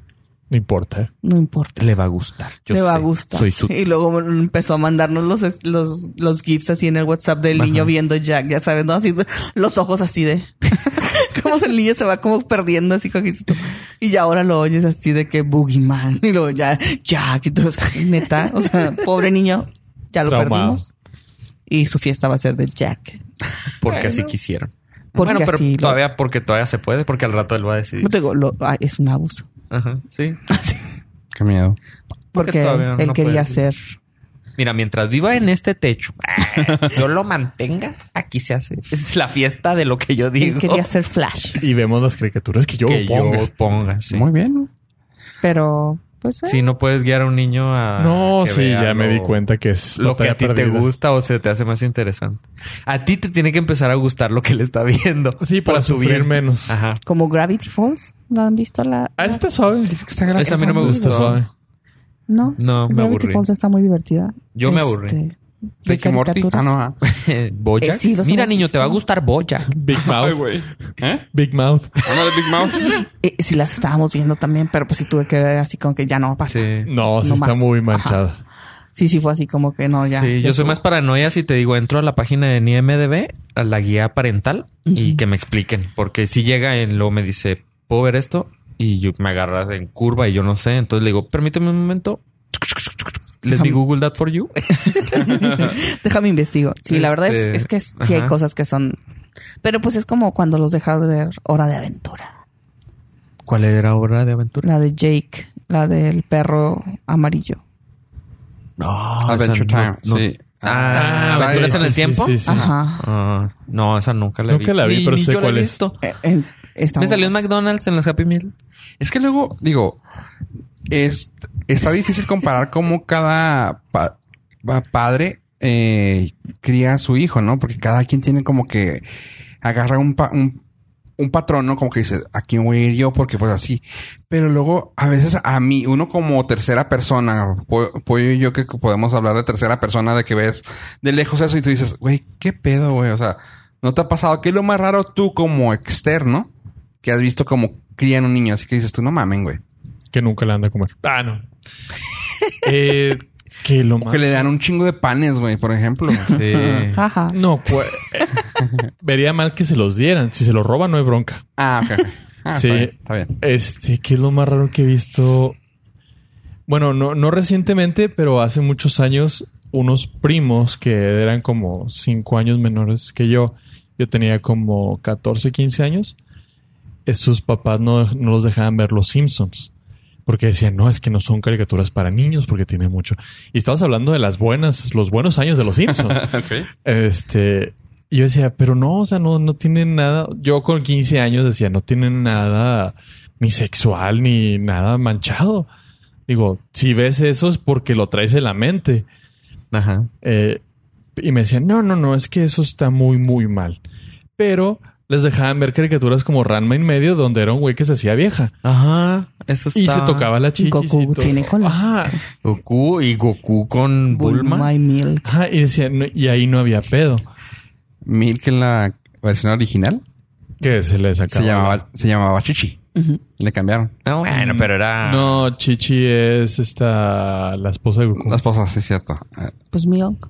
D: No importa.
B: No importa.
C: Le va a gustar. Yo
B: le va
C: sé.
B: a gustar.
C: Soy su.
B: Y luego empezó a mandarnos los, es- los, los gifs así en el WhatsApp del
C: Ajá.
B: niño viendo Jack, ya sabes, ¿no? Así, los ojos así de... [LAUGHS] como el niño se va como perdiendo así como que dices tú, Y ya ahora lo oyes así de que Boogeyman. Y luego ya Jack y todo. ay, Neta, o sea, pobre niño, ya lo
D: Traumado.
B: perdimos. Y su fiesta va a ser de Jack.
C: Porque así quisieron.
B: Porque
C: bueno, pero
B: así lo-
C: todavía, porque todavía se puede, porque al rato él va a decidir.
B: Yo te digo, lo- ah, es un abuso.
C: [LAUGHS] Ajá. Sí.
A: Qué miedo.
C: Porque
B: Porque,
C: todavía
B: él
C: no
B: quería
C: puede.
B: hacer
C: Mira, mientras viva en este techo, [LAUGHS] yo lo mantenga, aquí se hace. Es la fiesta de lo que yo
B: él
C: digo.
B: quería hacer Flash.
D: Y vemos las caricaturas que yo
C: que
D: ponga.
C: yo ponga. Sí.
A: Muy bien.
B: Pero, pues, eh,
C: Si no puedes guiar a un niño a.
D: No,
C: que
D: sí,
C: vea
D: ya me
C: lo-
D: di cuenta que es
C: Lo que a ti
D: batalla
C: te
D: perdida.
C: gusta o se te hace más interesante. A ti te tiene que empezar a gustar lo que le está [LAUGHS] viendo.
D: Sí, para
C: Por tu
D: sufrir
C: bien.
D: menos.
C: Ajá.
B: como Gravity Falls, ¿la han visto la?
D: Ah,
B: la-
D: está suave.
A: Dice que está gracioso.
C: Esa a mí no me gusta.
D: Está suave.
B: No,
C: No, me
B: Gravity
C: [LAUGHS] aburrí.
B: Falls está muy divertida.
C: Yo me aburrí.
B: Este, de
A: Ricky Morty.
B: caricaturas.
A: Ah, no. ah.
C: Bojack.
B: Eh, sí, los
C: Mira,
B: hemos
C: niño,
B: visto.
C: te va a gustar Bojack.
D: Big
A: Ay,
D: Mouth.
A: güey. ¿Eh?
D: Big Mouth.
A: Ándale, Big Mouth.
B: Eh, sí las estábamos viendo también, pero pues sí tuve que ver así como que ya no pasa. Sí,
C: Sí.
D: No, sí
B: No
D: está
B: más.
D: muy
B: Ajá.
D: manchada.
B: sí, fue así como que no, ya. este,
C: Sí,
B: ya
C: yo soy
B: estuvo.
C: más paranoia si te digo, entro a la página de IMDB, a la guía parental y que me expliquen. Porque si llega y luego me dice, ¿puedo ver esto? Y yo me agarras en curva y yo no sé. Entonces le digo, permíteme un momento. Let me Google that for you.
B: Déjame investigo. Sí, la verdad es,
C: Este,
B: es que sí hay
C: ajá.
B: cosas que son... Pero pues es como cuando los dejaron de ver Hora de Aventura.
C: ¿Cuál era obra de aventura?
B: La de Jake, la del perro amarillo.
C: No,
A: Adventure
C: esa no-
A: Time.
C: no.
A: Sí.
C: Ah,
A: está
C: ¿aventuras en
A: esa.
C: el tiempo?
B: Ajá.
C: Ah, no, esa nunca la vi.
D: Nunca la vi,
C: Ni-
D: pero
C: ni
D: sé
C: yo la
D: cuál
C: he
D: es.
C: visto.
B: Eh, eh, está
C: Me
B: muy
C: salió en
B: buena.
C: McDonald's en las Happy Meal.
A: Es que luego, digo, es, está difícil comparar cómo cada pa- pa- padre eh, cría a su hijo, ¿no? Porque cada quien tiene como que agarra un, pa- un, un patrón, ¿no? Como que dice, aquí voy a ir yo porque pues así. Pero luego, a veces a mí, uno como tercera persona, po- Pollo y yo que podemos hablar de tercera persona, de que ves de lejos eso y tú dices, güey, ¿qué pedo, güey? O sea, ¿no te ha pasado? ¿Qué es lo más raro tú como externo que has visto como crían un niño? Así que dices tú, no mamen, güey.
D: Que nunca la anda a comer. Ah,
C: [LAUGHS]
D: no. eh, que lo
A: O
D: más...
A: que le dan un chingo de panes, güey, por
D: [LAUGHS]
A: ejemplo.
C: Sí.
B: [LAUGHS] Ajá.
D: No, pues... Vería mal que se los dieran. Si se los roban, no hay bronca.
A: Ah, ok. ok. Ah, Está
D: Sí.
A: bien. Está bien.
D: Este, ¿qué es lo más raro que he visto? Bueno, no, no recientemente, pero hace muchos años, unos primos que eran como cinco años menores que yo, yo tenía como 14, 15 años, eh, sus papás no, no los dejaban ver los Simpsons. Porque decían, no, es que no son caricaturas para niños porque tienen mucho. Y estamos hablando de las buenas, los buenos años de los Simpsons. Este, y yo decía, pero no, o sea, no, no tienen nada. Yo con 15 años decía, no tienen nada ni sexual ni nada manchado. Digo, si ves eso es porque lo traes en la mente.
C: Ajá.
D: Eh, Y me decían, no, no, no, es que eso está muy, muy mal. Pero les dejaban ver caricaturas como Ranma en medio, donde era un güey que se hacía vieja.
C: Ajá. Eso está.
D: Y se tocaba la chichis
B: Goku
D: y todo.
B: tiene cola.
D: Ajá.
C: Goku y Goku con Bulma.
B: Bulma y Milk.
D: Ajá, y decían, no, y ahí no había pedo.
A: Milk en la versión original
D: Que se les acabó.
A: se llamaba, se llamaba Chichi.
B: Ujú.
A: Le cambiaron.
C: Ah, bueno, pero era.
D: No, Chichi es esta la esposa de Goku.
A: Las cosas, sí, es cierto.
B: Pues Milk.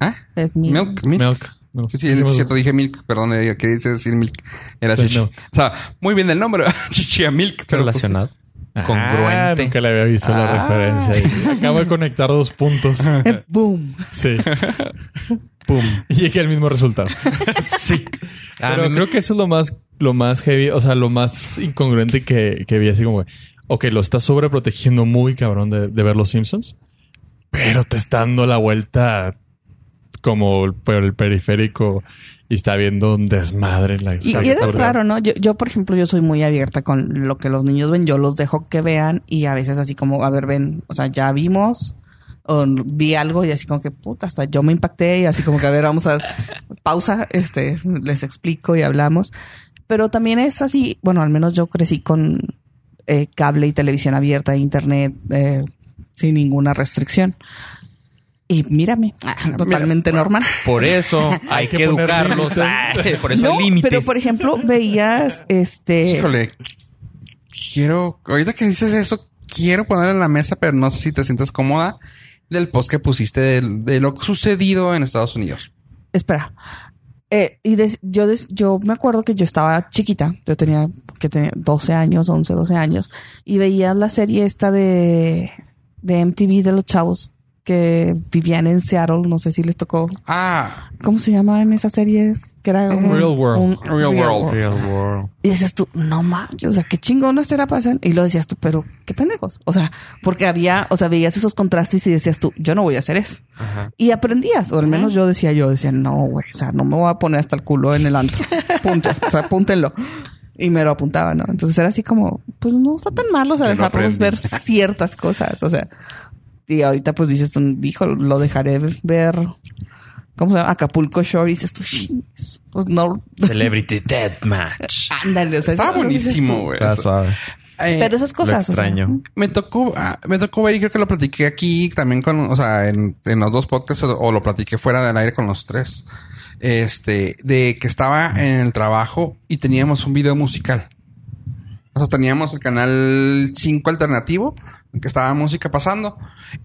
A: ¿Ah?
B: Es Milk.
A: Milk, milk.
D: Milk. No,
A: Sí, sí, es cierto, dije milk, perdón, eh, quería decir milk. Era
D: Sí,
A: chichi.
D: milk.
A: O sea, muy bien el nombre, [LAUGHS] chichi a milk, pero pues,
C: relacionado.
D: Ah,
C: Congruente.
D: nunca le había visto la
A: Ah.
D: referencia. ahí. Acabo de conectar dos puntos.
B: Eh, Boom.
D: Sí. Pum. Y llegué al mismo resultado. sí.
C: A
D: Pero
C: mí me-
D: creo que eso es lo más, lo más heavy, o sea, lo más incongruente que, que vi así como, ok, lo estás sobreprotegiendo muy cabrón de, de ver los Simpsons, pero te está dando la vuelta como por el periférico y está viendo un desmadre en la
B: Y, y era raro, ¿no? Yo, yo, por ejemplo, yo soy muy abierta con lo que los niños ven. Yo los dejo que vean y a veces así como, a ver, ven, o sea, ya vimos o vi algo y así como que, puta, hasta yo me impacté y así como que, a ver, vamos a pausa, este, les explico y hablamos. Pero también es así, bueno, al menos yo crecí con eh, cable y televisión abierta, internet, eh, sin ninguna restricción. Y mírame, [LAUGHS] ah, totalmente normal.
C: Por
D: [LAUGHS]
C: eso hay que,
D: que poner
C: educarlos. Ah, [LAUGHS] por eso
B: No,
C: hay límites.
B: pero por ejemplo, veías este.
A: híjole, quiero, ahorita que dices eso, quiero poner en la mesa, pero no sé si te sientas cómoda del post que pusiste de, de lo sucedido en Estados Unidos.
B: Espera. Eh, y des- yo, des- yo me acuerdo que yo estaba chiquita, yo tenía que tenía 12 años, 11, 12 años, y veía la serie esta de, de MTV de los chavos que vivían en Seattle, no sé si les tocó.
A: Ah,
B: ¿Cómo se llamaban esas series? Que era un-
D: Real World.
B: un-
A: Real World.
B: Y dices tú, no manches, o sea, qué chingonas será pasan. Y lo decías tú, pero qué pendejos. O sea, porque había, o sea, veías esos contrastes y decías tú, yo no voy a hacer eso. Y aprendías, o al menos yo decía, yo decía, no, güey, o sea, no me voy a poner hasta el culo en el [LAUGHS] antro. Punto. O sea, apúntenlo. Y me lo apuntaba, ¿no? Entonces era así como, pues no está tan malo, o sea,
A: Yo no
B: dejarnos
A: aprendí. [LAUGHS]
B: ver ciertas cosas. O sea, y ahorita pues dices, dijo, lo dejaré ver. ¿Cómo se llama? Acapulco Shore. Y dices tú, "Shis, pues no.
C: Celebrity Deathmatch.
B: [LAUGHS] Ándale, o sea,
A: estaba
B: esas cosas dices
A: buenísimo,
B: tú,
A: güey.
C: Está suave.
A: Eh,
B: Pero esas cosas.
C: Lo
B: o sea,
C: extraño.
A: Me tocó, ah, me tocó ver y creo que lo platiqué aquí también con, o sea, en, en los dos podcasts o, o lo platiqué fuera del aire con los tres. Este, de que estaba en el trabajo y teníamos un video musical. O sea, teníamos el canal 5 alternativo, que estaba música pasando,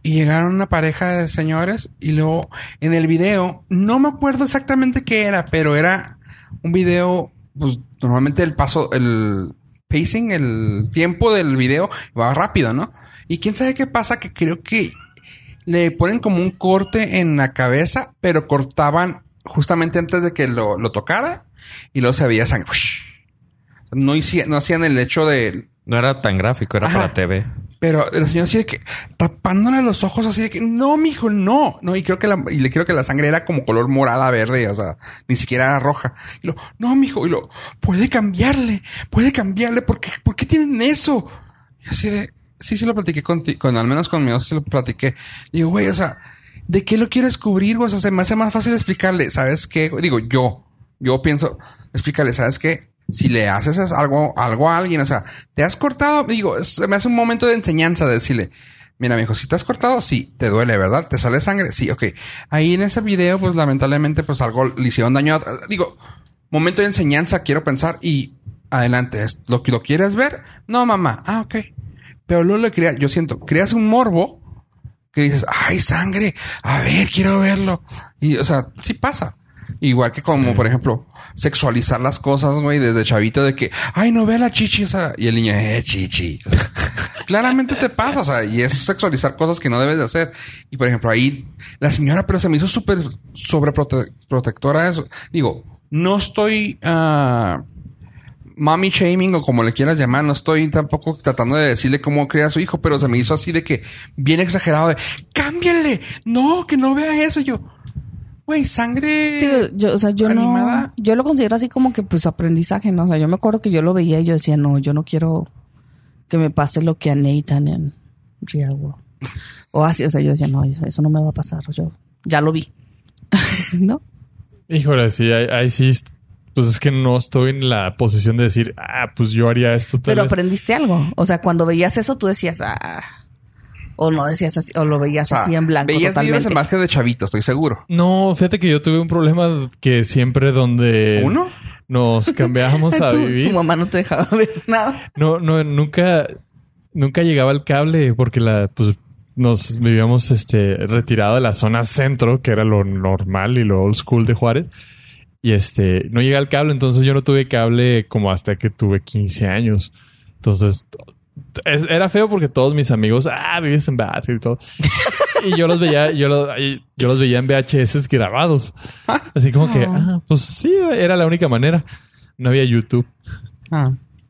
A: y llegaron una pareja de señores, y luego en el video, no me acuerdo exactamente qué era, pero era un video, pues normalmente el paso, el pacing, el tiempo del video va rápido, ¿no? Y quién sabe qué pasa, que creo que le ponen como un corte en la cabeza, pero cortaban justamente antes de que lo, lo tocara, y luego se veía sangre. No, hici- no hacían el hecho de.
C: No era tan gráfico, era
A: Ajá.
C: para TV.
A: Pero el señor así de que tapándole los ojos, así de que no, mijo, no, no. Y creo que la, y le creo que la sangre era como color morada, verde, o sea, ni siquiera era roja. Y lo, no, mijo, y lo, puede cambiarle, puede cambiarle, porque, ¿por qué tienen eso? Y así de, sí, sí lo platiqué con, ti- con al menos conmigo, sí lo platiqué. Digo, güey, o sea, ¿de qué lo quieres cubrir? güey? O sea, se me hace más fácil explicarle, ¿sabes qué? Digo, yo, yo pienso, explícale, ¿sabes qué? Si le haces es- algo, algo a alguien, o sea, te has cortado, digo, se me hace un momento de enseñanza de decirle, mira, mijo, si te has cortado, sí, te duele, ¿verdad? ¿Te sale sangre? Sí, ok. Ahí en ese video, pues lamentablemente, pues algo le hicieron daño. a- Digo, momento de enseñanza, quiero pensar y adelante, es ¿lo, lo quieres ver? No, mamá. Ah, ok. Pero luego le crea, yo siento, creas un morbo que dices, ay, sangre, a ver, quiero verlo. Y, o sea, sí pasa. Igual que como, por ejemplo, sexualizar las cosas, güey, desde chavito de que, ay, no ve la chichi, o sea, y el niño, eh, chichi. [LAUGHS] O sea, claramente te pasa, o sea, y es sexualizar cosas que no debes de hacer. Y, por ejemplo, ahí, la señora, pero se me hizo súper sobreprotectora de eso. Digo, no estoy, ah, mommy shaming o como le quieras llamar, no estoy tampoco tratando de decirle cómo crea a su hijo, pero se me hizo así de que bien exagerado de cámbiale, no, que no vea eso Y yo. Güey, sangre.
B: Sí, yo, o sea, yo
A: animada.
B: no, yo lo considero así como que pues aprendizaje, ¿no? O sea, yo me acuerdo que yo lo veía y yo decía, no, yo no quiero que me pase lo que a Nathan en Real World. O así, o sea, yo decía, no, eso, eso no me va a pasar, yo ya lo vi. [LAUGHS] No.
D: Híjole, sí, ahí, ahí sí. est- Pues es que no estoy en la posición de decir, ah, pues yo haría esto. Tal
B: Pero
D: vez.
B: aprendiste algo. O sea, cuando veías eso, tú decías, ah. O no decías así, o lo
A: O
B: veías
A: sea,
B: así en blanco.
A: veías videos
B: totalmente.
A: en margen de chavito, estoy seguro.
D: No, fíjate que yo tuve un problema que siempre donde
A: ¿Uno?
D: nos
B: [LAUGHS]
D: cambiábamos a
B: tu,
D: vivir.
B: tu mamá no te dejaba [LAUGHS] ver nada.
D: No, no, nunca, nunca llegaba el cable porque la, pues, nos vivíamos este retirado de la zona centro, que era lo normal y lo old school de Juárez. Y este, no llegaba el cable, entonces yo no tuve cable como hasta que tuve 15 años. Entonces, t- es- era feo porque todos mis amigos, ah, vives en Bad y todo. Y yo los veía, yo los, y yo los veía en VHS grabados. Así como que, ah, pues sí, era la única manera. No había YouTube.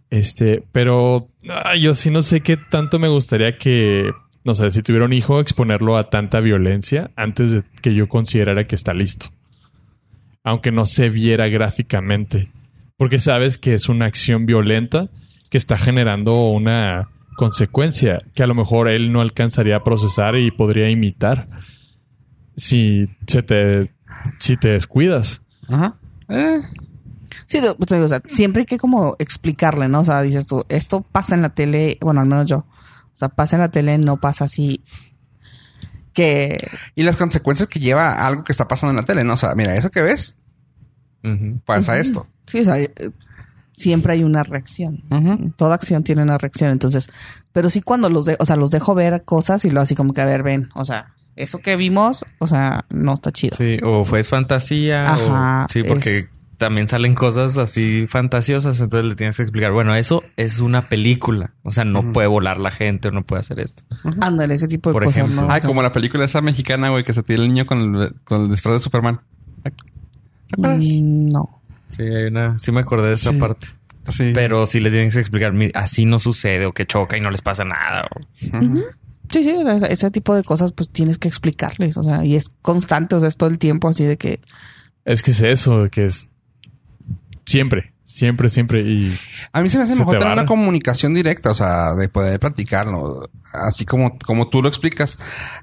D: Este, pero ah, yo sí no sé qué tanto me gustaría que, no sé, si tuviera un hijo, exponerlo a tanta violencia antes de que yo considerara que está listo. Aunque no se viera gráficamente. Porque sabes que es una acción violenta que está generando una consecuencia que a lo mejor él no alcanzaría a procesar y podría imitar si, se te, si te descuidas.
A: Ajá. Eh,
B: Sí, no, pues te digo, o sea, siempre hay que como explicarle, ¿no? O sea, dices tú, esto pasa en la tele, bueno, al menos yo. O sea, pasa en la tele, no pasa así que
A: y las consecuencias que lleva a algo que está pasando en la tele, ¿no? O sea, mira, eso que ves,
C: Ujú.
A: pasa esto.
B: Sí, o sea, eh, siempre hay una reacción. Toda acción tiene una reacción. Entonces, pero sí cuando los, de, o sea, los dejo ver cosas y lo así como que, a ver, ven, o sea, eso que vimos, o sea, no está chido.
C: Sí, o fue es fantasía.
B: Ajá,
C: o, sí, porque
B: es-
C: también salen cosas así fantasiosas. Entonces le tienes que explicar, bueno, eso es una película. O sea, no puede volar la gente o no puede hacer esto.
B: Ándale, ese tipo de
C: Por
B: cosas.
C: ejemplo.
B: ¿no? O
A: Ay,
B: sea,
A: como la película esa mexicana, güey, que se tira el niño con el, con el disfraz de Superman. ¿Te acuerdas?
B: mm, No.
C: Sí, hay una. Sí, me acordé de esa
A: Sí.
C: parte.
A: Sí.
C: Pero sí les tienes que explicar, mire, así no sucede o que choca y no les pasa nada. o-
A: Ujú.
B: Sí, sí, o sea, ese- ese tipo de cosas pues tienes que explicarles, o sea, y es constante, o sea, es todo el tiempo así de que...
D: Es que es eso, que es siempre, siempre, siempre. Y
A: A mí se me hace
D: Se
A: mejor
D: te
A: tener
D: barre.
A: una comunicación directa, o sea, de poder platicarlo, así como, como tú lo explicas.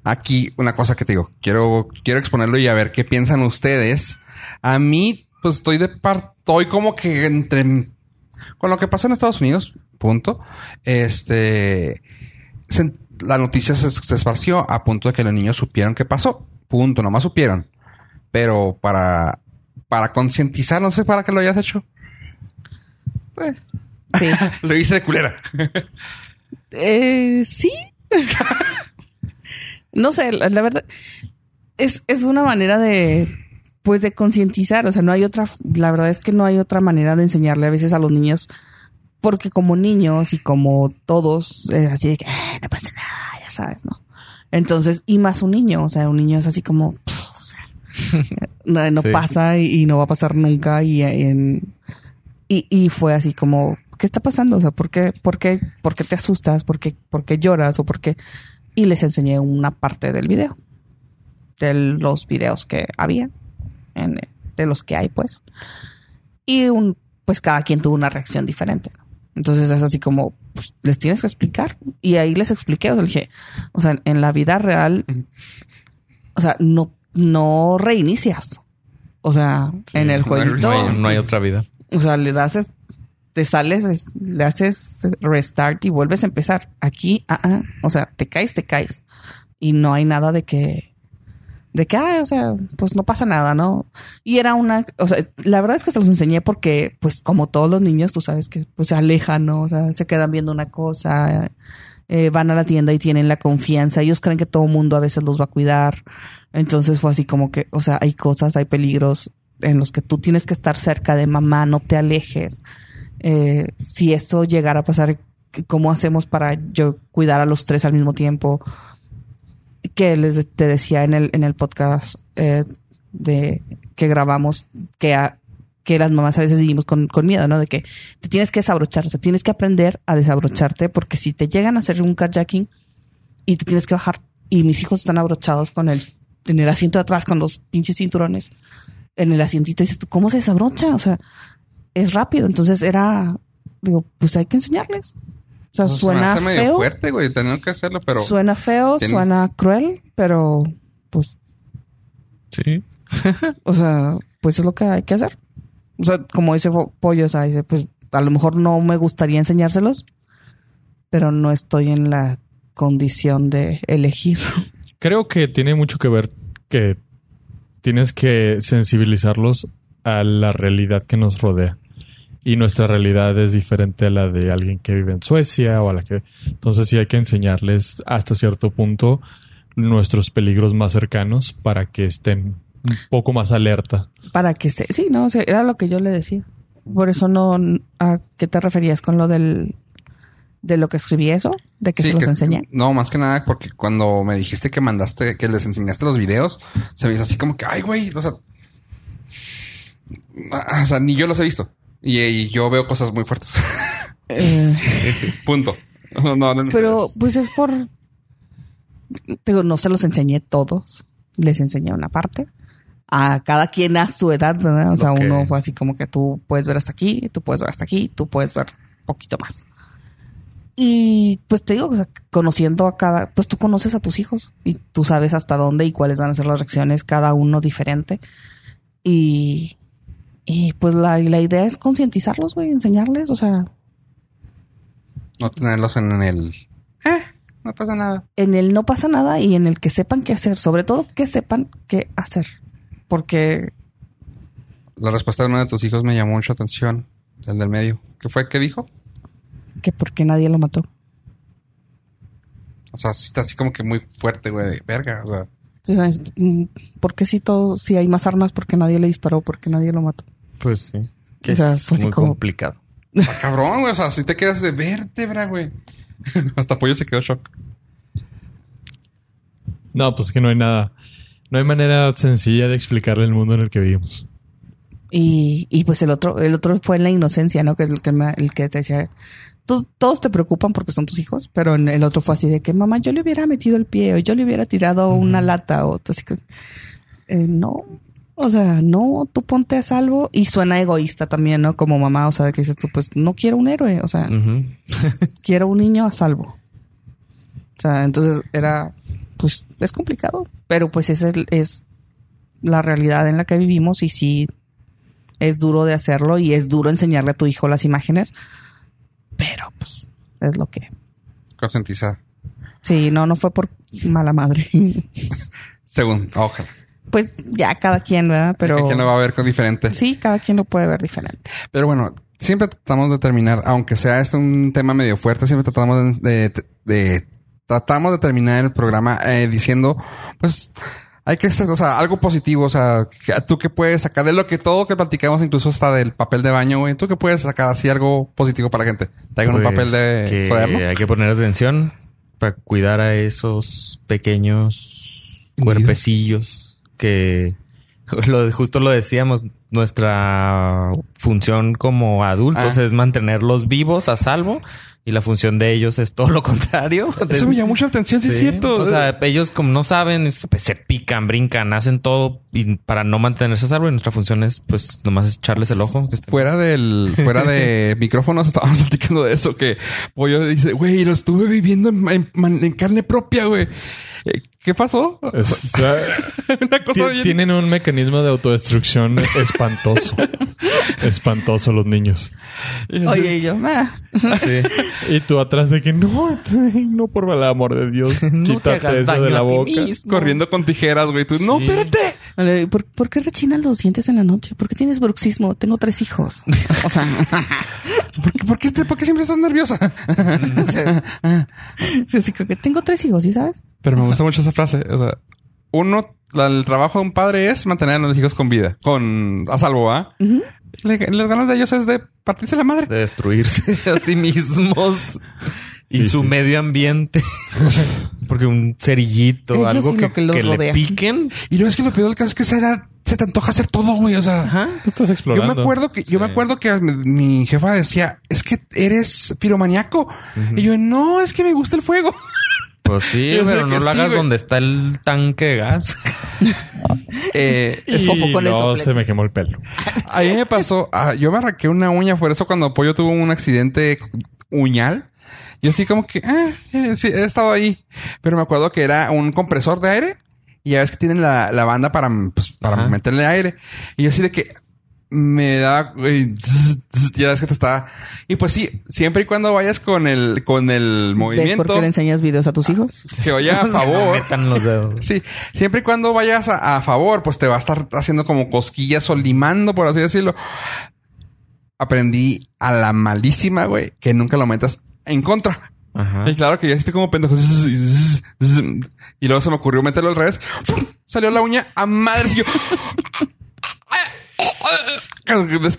A: Aquí, una cosa que te digo, quiero, quiero exponerlo y a ver qué piensan ustedes. A mí, pues estoy de par, estoy como que entre, con lo que pasó en Estados Unidos, punto. Este, se- la noticia se, se esparció a punto de que los niños supieron qué pasó, punto, nomás supieron. Pero para, para concientizar, no sé para qué lo hayas hecho.
B: Pues... Sí.
A: [LAUGHS] Lo hice de culera.
B: Eh, sí. [LAUGHS] no sé, la, la verdad. Es, es una manera de. Pues de concientizar. O sea, no hay otra. La verdad es que no hay otra manera de enseñarle a veces a los niños. Porque como niños y como todos, es así de que "Ah, no pasa nada, ya sabes, ¿no? Entonces, y más un niño, o sea, un niño es así como, "Pff", o sea, [LAUGHS] no, no
C: Sí.
B: pasa y, y no va a pasar nunca y en, y, y fue así como, ¿qué está pasando? O sea, ¿por qué, por qué, por qué te asustas? ¿Por qué, por qué lloras? ¿O por qué? Y les enseñé una parte del video. De los videos que había. en- de los que hay, pues. Y un, pues cada quien tuvo una reacción diferente. ¿no? Entonces es así como, pues, les tienes que explicar. Y ahí les expliqué, o sea, le dije, o sea, en la vida real, o sea, no, no reinicias. O sea, en el
A: no hay
B: jueguito.
C: No, hay-
A: No.
C: no hay otra vida.
B: O sea, le das, es- te sales, es- le haces restart y vuelves a empezar. Aquí, ah, ah, o sea, te caes, te caes. Y no hay nada de que, de que, ah, o sea, pues no pasa nada, ¿no? Y era una, o sea, la verdad es que se los enseñé porque, pues como todos los niños, tú sabes que pues, se alejan, ¿no? O sea, se quedan viendo una cosa, eh, van a la tienda y tienen la confianza. Ellos creen que todo mundo a veces los va a cuidar. Entonces fue así como que, o sea, hay cosas, hay peligros en los que tú tienes que estar cerca de mamá, no te alejes. Eh, si esto llegara a pasar, ¿cómo hacemos para yo cuidar a los tres al mismo tiempo? Que les te decía en el, en el podcast eh, de que grabamos que, a- que las mamás a veces vivimos con, con miedo, ¿no? De que te tienes que desabrochar, o sea, tienes que aprender a desabrocharte porque si te llegan a hacer un carjacking y te tienes que bajar y mis hijos están abrochados con el, en el asiento de atrás con los pinches cinturones, en el asientito y dices tú, ¿cómo se desabrocha? O sea, es rápido. Entonces era, digo, pues hay que enseñarles. O sea,
A: Pues, se me
B: suena
A: hace medio
B: feo.
A: fuerte, güey. Tener que hacerlo, pero
B: suena feo,
A: tienes-
B: suena cruel, pero pues
C: Sí.
B: O sea, pues es lo que hay que hacer. O sea, como dice Fo- Pollo, o sea, dice, pues a lo mejor no me gustaría enseñárselos, pero no estoy en la condición de elegir. [LAUGHS]
D: Creo que tiene mucho que ver que tienes que sensibilizarlos a la realidad que nos rodea. Y nuestra realidad es diferente a la de alguien que vive en Suecia o a la que... Entonces sí hay que enseñarles hasta cierto punto nuestros peligros más cercanos para que estén un poco más alerta.
B: Para que esté. Sí, no, o sea, era lo que yo le decía. Por eso no. ¿A qué te referías con lo del. de lo que escribí eso? ¿De que
A: Sí,
B: se los
A: que-
B: enseñé?
A: No, más que nada porque cuando me dijiste que mandaste, que les enseñaste los videos, se me hizo así como que, ay, güey, o sea, ah, o sea, ni yo los he visto. Y, y yo veo cosas muy fuertes. [LAUGHS]
B: Eh,
A: Punto. No, no, no,
B: pero
A: ustedes.
B: pues es por. Digo, no se los enseñé todos. Les enseñé una parte. A cada quien a su edad, ¿verdad? O sea,
A: Ok.
B: uno fue así como que tú puedes ver hasta aquí, tú puedes ver hasta aquí, tú puedes ver poquito más. Y pues te digo, o sea, conociendo a cada, pues tú conoces a tus hijos y tú sabes hasta dónde y cuáles van a ser las reacciones, cada uno diferente. Y, y pues la, la idea es concientizarlos, güey, enseñarles, o sea,
A: no tenerlos en el. Eh, no pasa nada.
B: en el no pasa nada y en el que sepan qué hacer, sobre todo que sepan qué hacer. Porque
A: La respuesta de uno de tus hijos me llamó mucho atención. El del medio. ¿Qué fue? ¿Qué dijo?
B: que porque nadie lo mató.
A: O sea, sí está así como que muy fuerte, güey, de verga. O sea,
B: Entonces, mm, ¿por qué si todo, si hay más armas, porque nadie le disparó, porque nadie lo mató?
C: Pues sí. Que
B: O sea,
C: es
B: fue así
C: muy
B: como-
C: complicado.
A: está cabrón, güey. O sea, si te quedas de vértebra, güey. Hasta Pollo se quedó shock.
D: No, pues es que no hay nada. No hay manera sencilla de explicarle el mundo en el que vivimos.
B: Y, y pues el otro, el otro fue en la inocencia, ¿no? Que es el que, me- el que te decía, "Tú- todos te preocupan porque son tus hijos, pero en el otro fue así de que, mamá, yo le hubiera metido el pie o yo le hubiera tirado una lata o así que, "Eh, no, o sea, no, tú ponte a salvo y suena egoísta también, ¿no? Como mamá, o sea, que dices tú, pues no quiero un héroe, o sea,
C: Ujú.
B: quiero un niño a salvo. O sea, entonces era, pues es complicado, pero pues es, el- es la realidad en la que vivimos y sí es duro de hacerlo y es duro enseñarle a tu hijo las imágenes, pero pues es lo que.
A: Concientizada.
B: Sí, no, no fue por mala madre. [LAUGHS]
A: Según, ojalá.
B: pues ya cada quien, ¿verdad? Pero
A: Que lo va a ver con diferente.
B: sí, cada quien lo puede ver diferente.
A: Pero bueno, siempre tratamos de terminar, aunque sea este un tema medio fuerte, siempre tratamos de, de- de- tratamos de terminar el programa eh, diciendo, pues hay que hacer, o sea, algo positivo, o sea, que- tú que puedes sacar de lo que todo que platicamos, incluso hasta del papel de baño, güey, tú que puedes sacar así algo positivo para la gente. Traigan un
C: Pues
A: papel de
C: que
A: cuaderno.
C: Hay que poner atención para cuidar a esos pequeños cuerpecillos que [LAUGHS] lo, justo lo decíamos, nuestra función como adultos
A: Ah.
C: es mantenerlos vivos a salvo y la función de ellos es todo lo [LAUGHS] contrario.
A: Eso me llamó mucha atención, sí, es
C: Sí, pues,
A: cierto.
C: O sea, ellos como no saben, es- pues, se pican, brincan, hacen todo y para no mantenerse a salvo y nuestra función es pues nomás echarles
A: [LAUGHS]
C: el ojo. que estén-
A: Este, Fuera del, fuera
C: [LAUGHS]
A: de micrófonos estábamos platicando de eso que Pollo dice, güey, lo estuve viviendo en, en- man- en carne propia, güey. Eh, ¿Qué pasó? [LAUGHS]
D: Es- [LAUGHS] o sea,
A: Una cosa
D: ti-
A: bien-
D: Tienen un mecanismo de autodestrucción espantoso. espantoso los niños.
B: Oye, y yo, "Ah".
C: Sí.
D: Y tú atrás de que no, no por el amor de Dios,
C: No te hagas
D: quítate eso
C: daño
D: de la
C: a ti
D: boca.
C: mismo.
A: corriendo con tijeras, güey. Tú, no,
C: Sí.
A: espérate.
B: Le- ¿Por, por qué rechinas los dientes en la noche? ¿Por qué tienes bruxismo? Tengo tres hijos. [LAUGHS] O sea,
A: ¿Por qué, por qué te- por qué siempre estás nerviosa?
B: Sí, así como que tengo tres hijos, ¿sí sabes?
A: Pero me gusta mucho esa frase. O sea, uno, la- el trabajo de un padre es mantener a los hijos con vida, con a salvo, ¿ah?
B: Ujú.
A: Le- Las ganas de ellos es de partirse la madre.
C: de destruirse [LAUGHS] a sí mismos y
D: Sí,
C: su
D: sí.
C: medio ambiente. Porque un cerillito,
B: Ellos
C: algo
B: y
C: que,
B: lo que los
C: que le
B: rodea.
C: piquen.
A: Y luego es que lo peor del caso es que a esa edad se te antoja hacer todo, güey. O sea,
D: ¿Qué Estás
A: Yo
D: explorando.
A: me acuerdo que, yo me
C: Sí.
A: acuerdo que mi, mi jefa decía, es que eres piromaniaco. Y yo, no, es que me gusta el fuego. [LAUGHS]
C: Pues sí,
A: Yo sé
C: pero
A: que
C: no
A: sí,
C: lo hagas
A: güey.
C: donde está el tanque de [LAUGHS] gas.
A: Eh,
D: Y
B: Ojo con el
D: no,
B: soplete.
D: se me quemó el pelo.
A: a mí me pasó, ah, yo me arranqué una uña, por eso cuando Pollo tuvo un accidente uñal, yo así como que, ah, eh, sí, he estado ahí. Pero me acuerdo que era un compresor de aire Y ya ves que tienen la, la banda para, pues, para
C: Ajá.
A: meterle aire. Y yo así de que me daba... güey, zzz, zzz, ya ves que te está... Y pues sí, siempre y cuando vayas con el, con el
B: ¿Ves por
A: movimiento
B: qué le enseñas videos a tus hijos?
A: que vaya [LAUGHS] a favor...
C: Metan los dedos.
A: Sí, siempre y cuando vayas a, a favor, pues te va a estar haciendo como cosquillas o limando, por así decirlo. Aprendí a la malísima, güey, que nunca lo metas en contra.
C: Ajá.
A: Y claro que yo estoy como pendejo. zzz, zzz, zzz, Y luego se me ocurrió meterlo al revés. ¡Fum! Salió la uña a madres y yo. [LAUGHS]